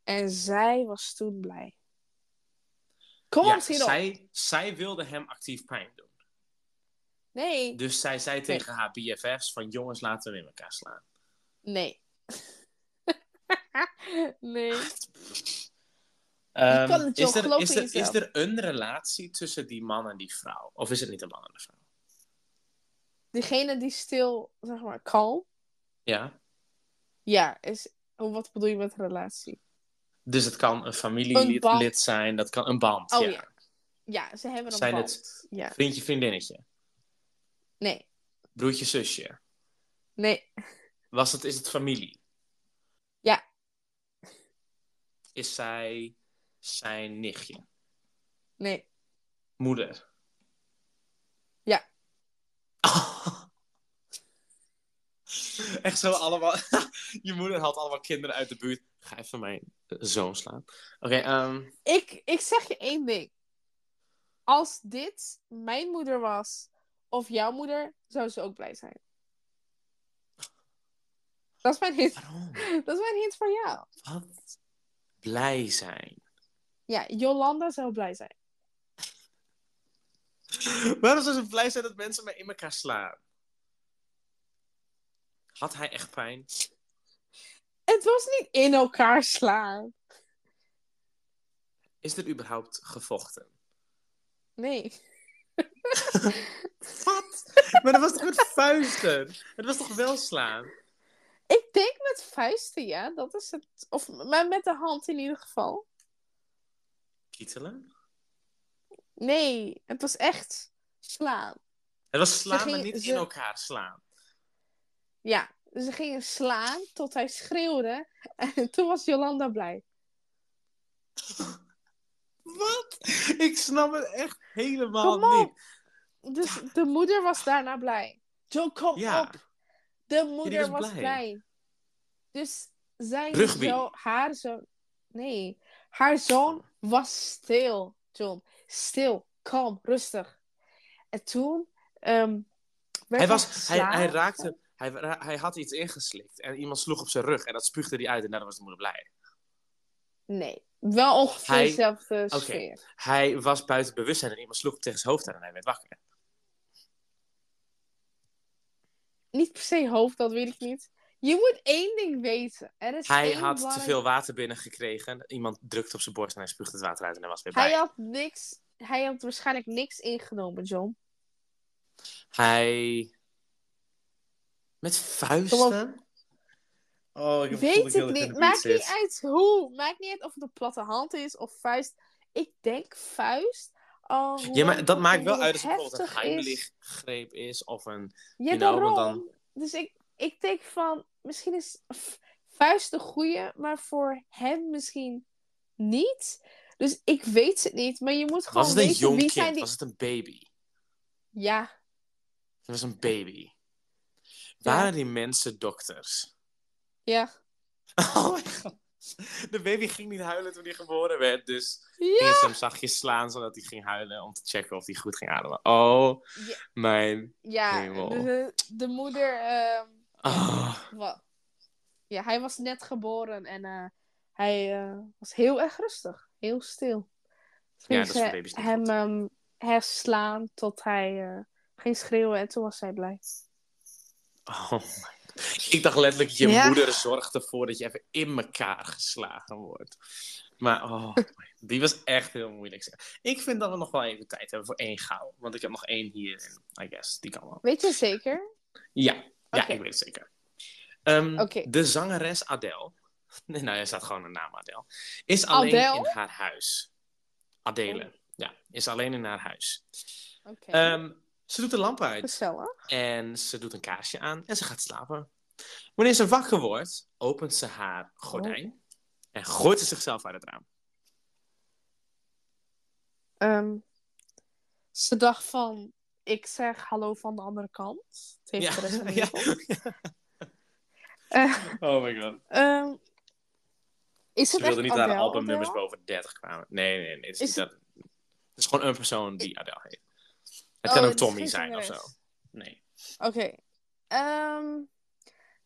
S1: En zij was toen blij. Kom
S2: Ja,
S1: ons hierop.
S2: zij, zij wilde hem actief pijn doen.
S1: Nee,
S2: Dus zij zei tegen haar BFF's van jongens, laten we in elkaar slaan.
S1: nee. nee.
S2: Ehm,
S1: kan het, joh,
S2: is, er,
S1: geloof
S2: is,
S1: in
S2: er,
S1: jezelf.
S2: is er een relatie tussen die man en die vrouw? Of is het niet een man en een vrouw?
S1: Degene die stil, zeg maar, kalm.
S2: Ja.
S1: Ja, is. oh, Wat bedoel je met relatie?
S2: Dus het kan een
S1: Een
S2: familielid
S1: band.
S2: lid zijn, dat kan een band.
S1: Oh,
S2: ja.
S1: ja. Ja, ze hebben een
S2: Zijn
S1: band.
S2: het-
S1: Ja.
S2: Vriendje, vriendinnetje,
S1: Nee.
S2: broertje, zusje.
S1: Nee.
S2: Was het, is het familie?
S1: Ja.
S2: Is zij zijn nichtje?
S1: Nee.
S2: Moeder?
S1: Ja.
S2: <laughs> Echt zo allemaal. <laughs> Je moeder had allemaal kinderen uit de buurt. Ga even mijn zoon slaan. Oké, ehm,
S1: Ik, ik zeg je één ding. Als dit mijn moeder was of jouw moeder, zou ze ook blij zijn. Dat is mijn
S2: <laughs>
S1: hint,
S2: waarom?
S1: dat is mijn hint voor jou.
S2: Wat? Blij zijn. <laughs>
S1: Ja, Jolanda zou blij zijn.
S2: Waarom zou ze blij zijn dat mensen mij in elkaar slaan? Had hij echt pijn?
S1: Het was niet in elkaar slaan.
S2: Is er überhaupt gevochten?
S1: Nee.
S2: Wat? Maar dat was toch met vuisten? Het was toch wel slaan?
S1: Ik denk met vuisten, ja. Dat is het. Of maar met de hand in ieder geval.
S2: Kietelen?
S1: Nee, het was echt slaan.
S2: Het was slaan,
S1: ging-
S2: maar niet
S1: ze-
S2: in elkaar slaan.
S1: Ja, ze gingen slaan tot hij schreeuwde. <laughs> En toen was Jolanda blij.
S2: Wat? <laughs> Ik snap het echt helemaal
S1: Kom op.
S2: niet.
S1: Dus de moeder was daarna blij. Jo, kom
S2: Ja.
S1: op. De moeder
S2: was
S1: was,
S2: blij.
S1: blij. Dus zijn
S2: Rugby.
S1: zo- haar zoon... Nee, haar zoon was stil, John. Stil, kalm, rustig. En toen... ehm, werd
S2: Hij, was, hij,
S1: geslagen.
S2: hij raakte... Hij, ra- hij had iets ingeslikt en iemand sloeg op zijn rug en dat spuugde hij uit en daarna was de moeder blij.
S1: Nee, wel ongeveer
S2: Hij-
S1: dezelfde
S2: Oké.
S1: sfeer.
S2: Hij was buiten bewustzijn en iemand sloeg hem tegen zijn hoofd aan en hij werd wakker.
S1: Niet per se hoofd, dat weet ik niet. Je moet één ding weten. Er is
S2: Hij
S1: één
S2: had te
S1: belangrijk-
S2: veel water binnengekregen. Iemand drukte op zijn borst en hij spuugde het water uit en hij was weer
S1: Hij
S2: bij.
S1: had niks... Hij had waarschijnlijk niks ingenomen, John.
S2: Hij... Met vuisten? Oh, ik heb het gevoel dat
S1: Weet ik
S2: heel erg in
S1: niet.
S2: de
S1: Maakt
S2: buurt
S1: niet
S2: zit.
S1: uit hoe. Maakt niet uit of het een platte hand is of vuist. Ik denk vuist. Oh,
S2: Ja, maar dat maakt wel uit als het
S1: het
S2: bijvoorbeeld een
S1: heimlich.
S2: heimlichgreep is of een...
S1: Ja,
S2: you know,
S1: daarom.
S2: want
S1: Dus ik, ik denk van, misschien is v- vuist de goede, maar voor hem misschien niet. Dus ik weet het niet, maar je moet gewoon
S2: Was het een
S1: weten
S2: jong
S1: wie
S2: kind?
S1: zijn die...
S2: Was het een baby?
S1: Ja,
S2: Het was een baby. Waren die mensen dokters? <laughs>
S1: ja.
S2: Oh mijn god. De baby ging niet huilen toen hij geboren werd, dus
S1: Ja!
S2: gingen ze hem zachtjes slaan zodat hij ging huilen om te checken of hij goed ging ademen. Oh,
S1: Ja.
S2: mijn...
S1: Ja,
S2: Hemel.
S1: dus de, de moeder... ehm,
S2: Ah.
S1: Wa- Ja, hij was net geboren en eh, hij eh, was heel erg rustig, heel stil. Toen
S2: Ja,
S1: ging
S2: dat is voor
S1: ze
S2: baby's niet
S1: hem ehm, herslaan tot hij eh, ging schreeuwen en toen was hij blij.
S2: Oh my god. Ik dacht letterlijk, je
S1: Ja.
S2: moeder zorgt ervoor dat je even in elkaar geslagen wordt. Maar oh, die was echt heel moeilijk. zeg. Ik vind dat we nog wel even tijd hebben voor één gauw. Want ik heb nog één hier, I guess. Die kan wel.
S1: Weet je zeker?
S2: Ja, ja
S1: Oké.
S2: ik weet het zeker. Ehm,
S1: Oké.
S2: De zangeres Adele, <laughs> nee, nou, er staat gewoon een naam Adele, is alleen
S1: Adele? Oh.
S2: in haar huis. Adele, ja, is alleen in haar huis.
S1: Oké.
S2: Ehm, ze doet de lamp uit
S1: Gezellig.
S2: en ze doet een kaarsje aan en ze gaat slapen. Wanneer ze wakker wordt, opent ze haar gordijn
S1: Oh.
S2: en gooit ze zichzelf uit het raam.
S1: Ehm, ze dacht van, ik zeg hallo van de andere kant. Tegen de
S2: <laughs>
S1: rest van de
S2: ja.
S1: wereld. Eh,
S2: Oh my god.
S1: ehm, is het
S2: Ze wilde
S1: echt
S2: niet dat haar
S1: Adele,
S2: albumnummers
S1: Adele?
S2: boven 30 kwamen. Nee, nee, nee. Het is,
S1: Is
S2: niet dat... het is gewoon een persoon die Adele heet. Het
S1: Oh,
S2: kan ook
S1: het is
S2: Tommy
S1: geen
S2: zijn of zo.
S1: zangeres.
S2: Nee.
S1: Oké. Ehm,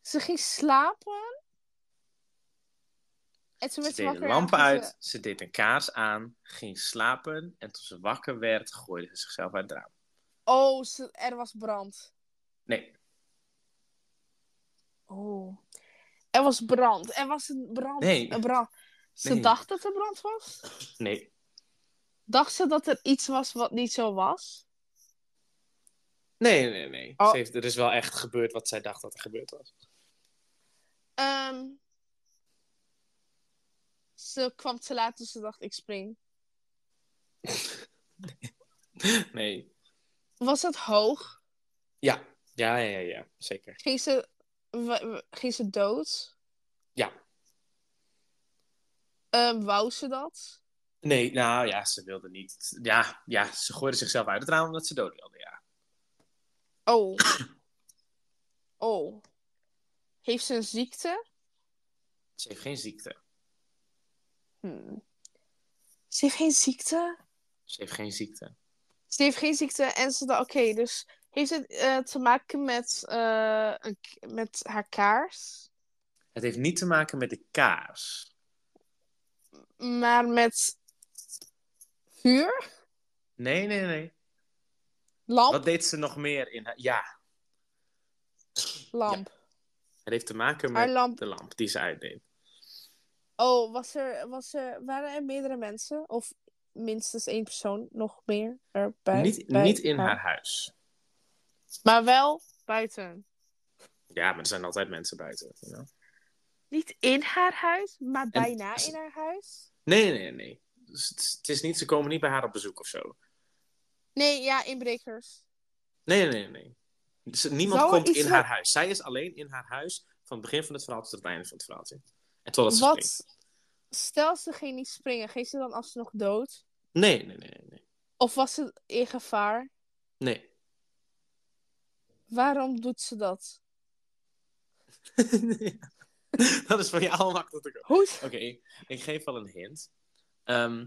S1: ze ging slapen. En toen
S2: Ze
S1: werd ze
S2: deed de
S1: wakker.
S2: lampen
S1: en ging
S2: uit,
S1: ze-
S2: ze deed een kaars aan, ging slapen. En toen ze wakker werd, gooide ze zichzelf uit het raam.
S1: Oh, ze- er was brand.
S2: Nee,
S1: Oh. Er was brand. Er was een brand.
S2: Nee.
S1: Een brand. Ze
S2: Nee.
S1: dacht dat er brand was?
S2: nee,
S1: Dacht ze dat er iets was wat niet zo was?
S2: nee, nee. nee.
S1: Oh.
S2: Ze heeft, er is wel echt gebeurd wat zij dacht dat er gebeurd was. <laughs>
S1: Ehm, ze kwam te laat, dus ze dacht ik spring.
S2: Nee.
S1: Was het hoog?
S2: Ja, ja, ja, ja, ja. zeker.
S1: Ging ze, w- w- ging ze dood?
S2: Ja.
S1: Ehm, wou ze dat?
S2: Nee, nou ja, ze wilde niet. Ja, ja, ze gooide zichzelf uit het raam omdat ze dood wilde, ja.
S1: Oh. oh. Heeft ze een ziekte?
S2: Ze heeft geen ziekte.
S1: Hmm. Ze heeft geen ziekte?
S2: Ze heeft geen ziekte.
S1: Ze heeft geen ziekte en ze dacht, oké, dus heeft het eh, te maken met, eh, een k- met haar kaars,
S2: Het heeft niet te maken met de kaars.
S1: maar met vuur,
S2: Nee, nee, nee.
S1: lamp,
S2: Wat deed ze nog meer in haar... Ja,
S1: lamp.
S2: het heeft te maken
S1: Haar
S2: met
S1: lamp.
S2: de lamp die ze uitdeed.
S1: Oh, was er, was er, waren er meerdere mensen of minstens één persoon nog meer erbij?
S2: niet,
S1: bij
S2: niet in haar huis.
S1: maar wel buiten.
S2: Ja, maar er zijn altijd mensen buiten. you know?
S1: Niet in haar huis, maar bijna
S2: ze-
S1: in haar huis.
S2: Nee, nee, nee. Dus het, het is niet, ze komen niet bij haar op bezoek of zo.
S1: Nee, ja, inbrekers.
S2: Nee, nee, nee. Dus niemand
S1: Zou er
S2: komt
S1: iets
S2: in
S1: wat-
S2: haar huis. Zij is alleen in haar huis van het begin van het verhaal tot het einde van het verhaaltje. En totdat ze springt.
S1: Wat, stel ze ging niet springen, ging ze dan als ze nog dood?
S2: Nee, nee, nee, nee, nee.
S1: Of was het in gevaar?
S2: Nee.
S1: Waarom doet ze dat?
S2: <laughs> dat is van je allemaal te komen.
S1: Hoe?
S2: Oké, ik geef wel een hint. Ehm,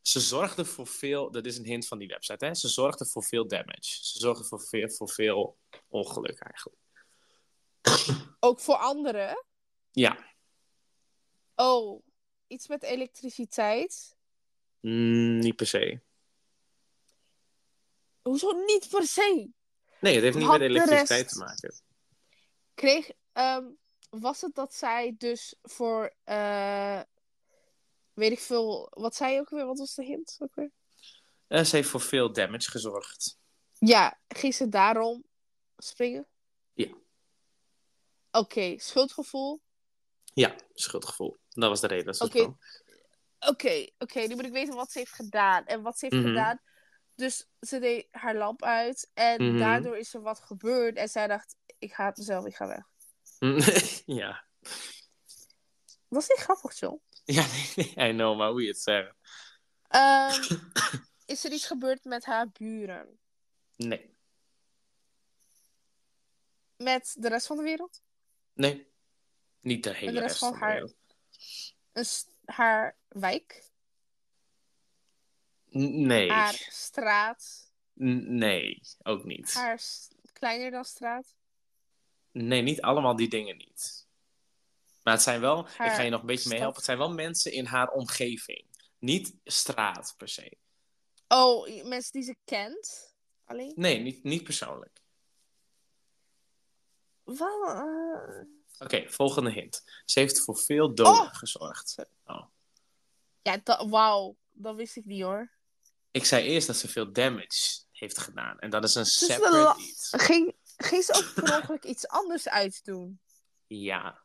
S2: ze zorgde voor veel, dat is een hint van die website, hè? Ze zorgde voor veel damage. Ze zorgde voor veel, voor veel ongeluk eigenlijk.
S1: Ook voor anderen?
S2: Ja.
S1: Oh, iets met elektriciteit?
S2: Mm, niet per se.
S1: Hoezo niet per se?
S2: Nee, het heeft niet
S1: Had
S2: met
S1: de
S2: elektriciteit
S1: rest-
S2: te maken.
S1: Kreeg, ehm, was het dat zij dus voor, eh, weet ik veel, wat zei je ook weer? Wat was de hint ook weer?
S2: Eh, ze heeft voor veel damage gezorgd.
S1: Ja, ging ze daarom springen?
S2: Ja.
S1: Oké, schuldgevoel.
S2: Ja, schuldgevoel. Dat was de reden dat ze het
S1: Oké.
S2: kwam.
S1: Oké, oké, nu moet ik weten wat ze heeft gedaan. En wat ze heeft
S2: Mhm.
S1: gedaan. Dus ze deed haar lamp uit. En
S2: Mhm.
S1: daardoor is er wat gebeurd. En zij dacht, ik haat mezelf, ik ga weg.
S2: ja. <laughs>
S1: Dat is niet grappig, John.
S2: Ja, nee, nee, I know, maar hoe je het zegt. <coughs>
S1: Ehm, is er iets gebeurd met haar buren?
S2: Nee.
S1: Met de rest van de wereld?
S2: Nee. Niet de hele
S1: de rest
S2: rest
S1: van
S2: van de
S1: haar-
S2: wereld.
S1: Een s- haar wijk?
S2: N- Nee.
S1: Haar straat?
S2: N- Nee, ook niet.
S1: Haar s- kleiner dan straat?
S2: Nee, niet allemaal die dingen niet. Maar het zijn wel, ik ga je nog een beetje
S1: stad.
S2: meehelpen, het zijn wel mensen in haar omgeving. Niet straat per se.
S1: Oh, i- mensen die ze kent? Alleen?
S2: Nee, niet, niet persoonlijk.
S1: Wat? eh,
S2: Oké, volgende hint. Ze heeft voor veel doden
S1: Oh!
S2: gezorgd. Oh.
S1: Ja, dat, wauw. Dat wist ik niet hoor.
S2: Ik zei eerst dat ze veel damage heeft gedaan. En dat is een
S1: is
S2: separate
S1: wel-
S2: iets.
S1: Ging, ging ze
S2: <laughs>
S1: ook per ongeluk iets anders uitdoen?
S2: Ja,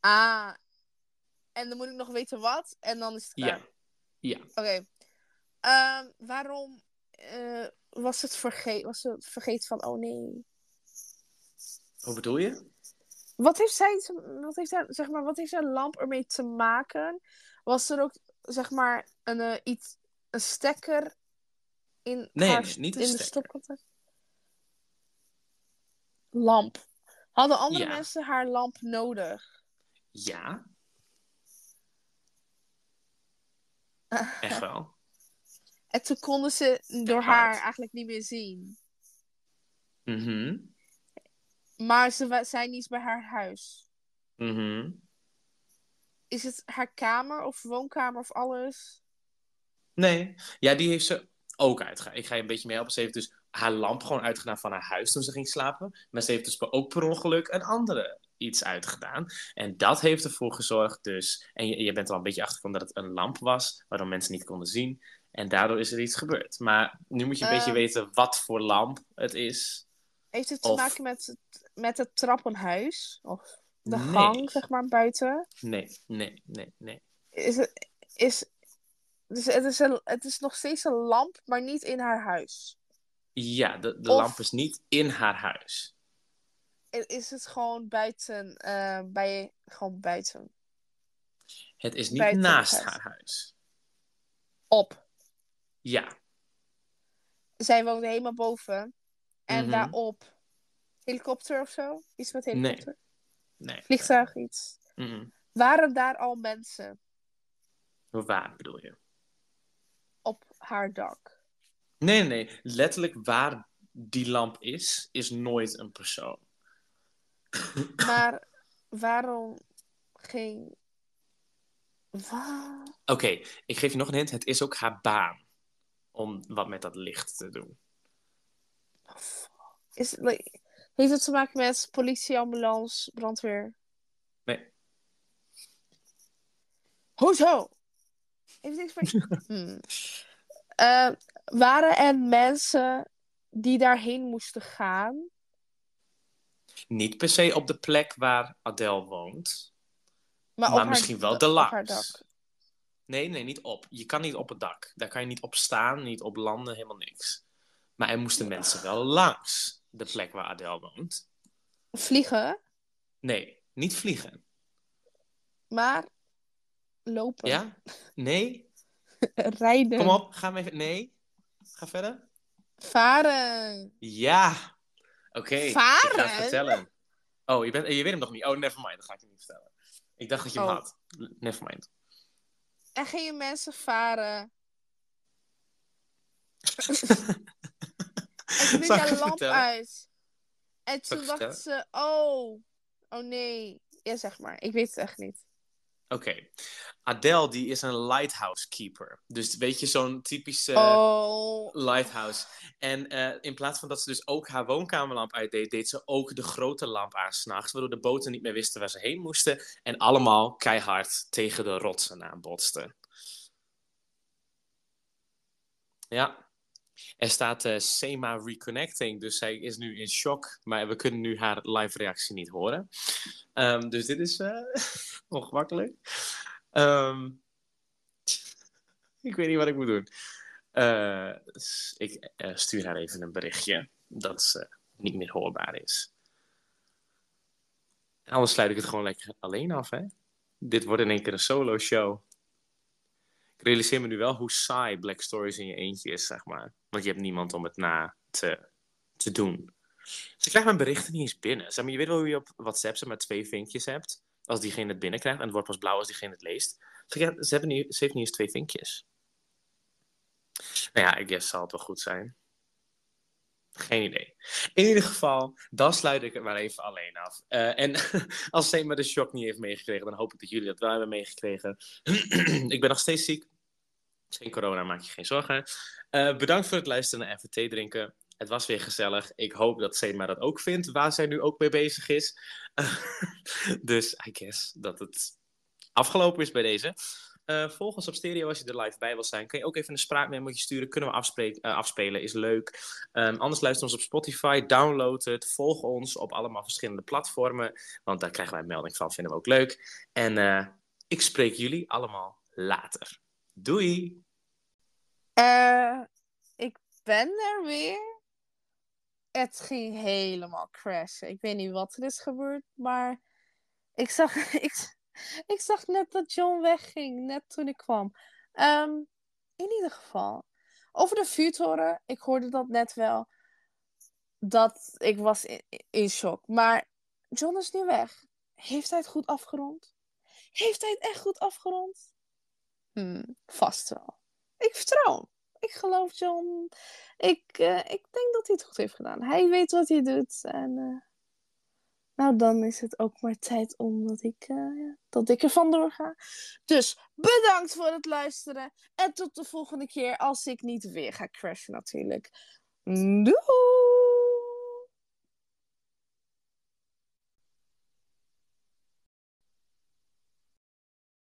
S1: Ah. En dan moet ik nog weten wat. En dan is het klaar.
S2: ja. Ja.
S1: Oké. Ehm, waarom eh, was, het verge- was ze vergeten van... Oh nee.
S2: Hoe bedoel je?
S1: Wat heeft zij... te- Wat heeft, zij, zeg maar, wat heeft zijn lamp ermee te maken? Was er ook, zeg maar, een, eh, iets, een stekker in
S2: Nee,
S1: haar
S2: nee,
S1: st-
S2: niet een
S1: in de
S2: stekker.
S1: stopcontact? Lamp. Hadden andere
S2: Ja.
S1: mensen haar lamp nodig?
S2: Ja, echt wel.
S1: <laughs> En toen konden ze door
S2: Hard.
S1: haar eigenlijk niet meer zien.
S2: Mhm.
S1: Maar ze wa- zijn niet bij haar huis.
S2: Mhm.
S1: Is het haar kamer of woonkamer of alles?
S2: Nee. Ja, die heeft ze ook uitgegaan. Ik ga je een beetje meehelpen. Ze heeft dus haar lamp gewoon uitgedaan van haar huis toen ze ging slapen. Maar ze heeft dus per- ook per ongeluk een andere iets uitgedaan. En dat heeft ervoor gezorgd dus... En je, je bent er al een beetje achtergekomen dat het een lamp was... waardoor mensen niet konden zien. En daardoor is er iets gebeurd. Maar nu moet je een beetje
S1: Ehm.
S2: weten wat voor lamp het is.
S1: Heeft het te
S2: Of-
S1: maken met, het- met het trappenhuis? Of de
S2: Nee.
S1: gang, zeg maar, buiten?
S2: Nee, nee, nee, nee.
S1: Is het, is, dus het, is een, het is nog steeds een lamp, maar niet in haar huis.
S2: Ja, de, de
S1: Of-
S2: lamp is niet in haar huis.
S1: I- Is het gewoon buiten? eh, bij, gewoon buiten.
S2: Het is niet
S1: Buiten het
S2: naast
S1: huis.
S2: haar huis.
S1: Op.
S2: Ja,
S1: Zij woonde helemaal boven. En
S2: Mhm.
S1: daarop. Helikopter of zo? Iets met helikopter?
S2: nee.
S1: Vliegtuig, iets.
S2: Mm-mm.
S1: Waren daar al mensen
S2: Waar bedoel je?
S1: op haar dak?
S2: Nee, nee, nee. Letterlijk waar die lamp is, is nooit een persoon.
S1: Maar waarom ging. Wa-
S2: Oké, ik geef je nog een hint. Het is ook haar baan. Om wat met dat licht te doen.
S1: Is het, like, heeft het te maken met politie, ambulance, brandweer?
S2: Nee.
S1: Hoezo? Heeft niks
S2: <laughs>
S1: meer. Hmm. Eh, waren er mensen die daarheen moesten gaan?
S2: Niet per se op de plek waar Adele woont.
S1: Maar,
S2: Maar,
S1: op haar-
S2: misschien wel
S1: op haar
S2: de
S1: dak.
S2: Nee, nee, niet op. Je kan niet op het dak. Daar kan je niet op staan, niet op landen, helemaal niks. Maar er moesten mensen wel langs de plek waar Adele woont.
S1: Vliegen,
S2: Nee, niet vliegen.
S1: maar lopen.
S2: Ja? Nee?
S1: <laughs> Rijden.
S2: Kom op, ga maar even. Nee? Ga verder.
S1: Varen.
S2: Ja. Oké. Ik ga
S1: Varen?
S2: het vertellen. Oh, je, bent, je weet hem nog niet. Oh, nevermind. Dat ga ik je niet vertellen. Ik dacht dat je hem
S1: Oh.
S2: had. Nevermind.
S1: En gingen mensen
S2: <laughs>
S1: varen. En toen deed
S2: Zal ik
S1: haar
S2: het
S1: lamp
S2: vertellen?
S1: uit. En
S2: Zal ik
S1: toen
S2: het
S1: dacht ze, oh, oh nee. Ja, zeg maar. Ik weet het echt niet.
S2: Oké. Adele, die is een lighthouse keeper. Dus weet je, zo'n typische
S1: oh.
S2: lighthouse. En eh, in plaats van dat ze dus ook haar woonkamerlamp uitdeed, deed ze ook de grote lamp aan s'nachts. Waardoor de boten niet meer wisten waar ze heen moesten. En allemaal keihard tegen de rotsen aanbotsten. Ja. Er staat eh SEMA Reconnecting, dus zij is nu in shock. Maar we kunnen nu haar live reactie niet horen. Ehm, dus dit is eh <laughs> ongemakkelijk. Ehm, ik weet niet wat ik moet doen. Eh, s- ik eh, stuur haar even een berichtje dat ze niet meer hoorbaar is. Anders sluit ik het gewoon lekker alleen af, hè? Dit wordt in één keer een solo show. Ik realiseer me nu wel hoe saai Black Stories in je eentje is, zeg maar. Want je hebt niemand om het na te, te doen. Ze krijgt mijn berichten niet eens binnen. Zeg maar, je weet wel hoe je op WhatsApp ze maar twee vinkjes hebt. Als diegene het binnenkrijgt. En het wordt pas blauw als diegene het leest. Ze, krijgt- ze, hebben niet, ze heeft niet eens twee vinkjes. Nou ja, ik guess zal het wel goed zijn. Geen idee. In ieder geval, dan sluit ik het maar even alleen af. Eh, en <laughs> als Sema de shock niet heeft meegekregen, dan hoop ik dat jullie dat wel hebben meegekregen. <clears throat> ik ben nog steeds ziek. Geen corona, maak je geen zorgen. Eh, bedankt voor het luisteren naar FVT Drinken. Het was weer gezellig. Ik hoop dat Sema dat ook vindt, waar zij nu ook mee bezig is. <laughs> dus I guess dat het afgelopen is bij deze. Eh volg ons op stereo als je er live bij wil zijn. Kun je ook even een spraakmemootje sturen. Kunnen we afspreken- eh, afspelen, is leuk. Ehm, anders luister ons op Spotify, download het. Volg ons op allemaal verschillende platformen. Want daar krijgen wij een melding van, vinden we ook leuk. En eh, ik spreek jullie allemaal later. Doei!
S1: Eh, ik ben er weer. Het ging helemaal crashen. Ik weet niet wat er is gebeurd, maar ik zag, <laughs> ik, ik zag net dat John wegging, net toen ik kwam. Ehm, in ieder geval, over de vuurtoren, ik hoorde dat net wel. Dat ik was in, in shock. Maar John is nu weg. Heeft hij het goed afgerond? Heeft hij het echt goed afgerond? Hmm, vast wel. Ik vertrouw hem. Ik geloof John. Ik, eh, ik denk dat hij het goed heeft gedaan. Hij weet wat hij doet. En eh, nou, dan is het ook maar tijd om dat ik, eh, dat ik ervan doorga. Dus bedankt voor het luisteren. En tot de volgende keer als ik niet weer ga crashen natuurlijk. Doei!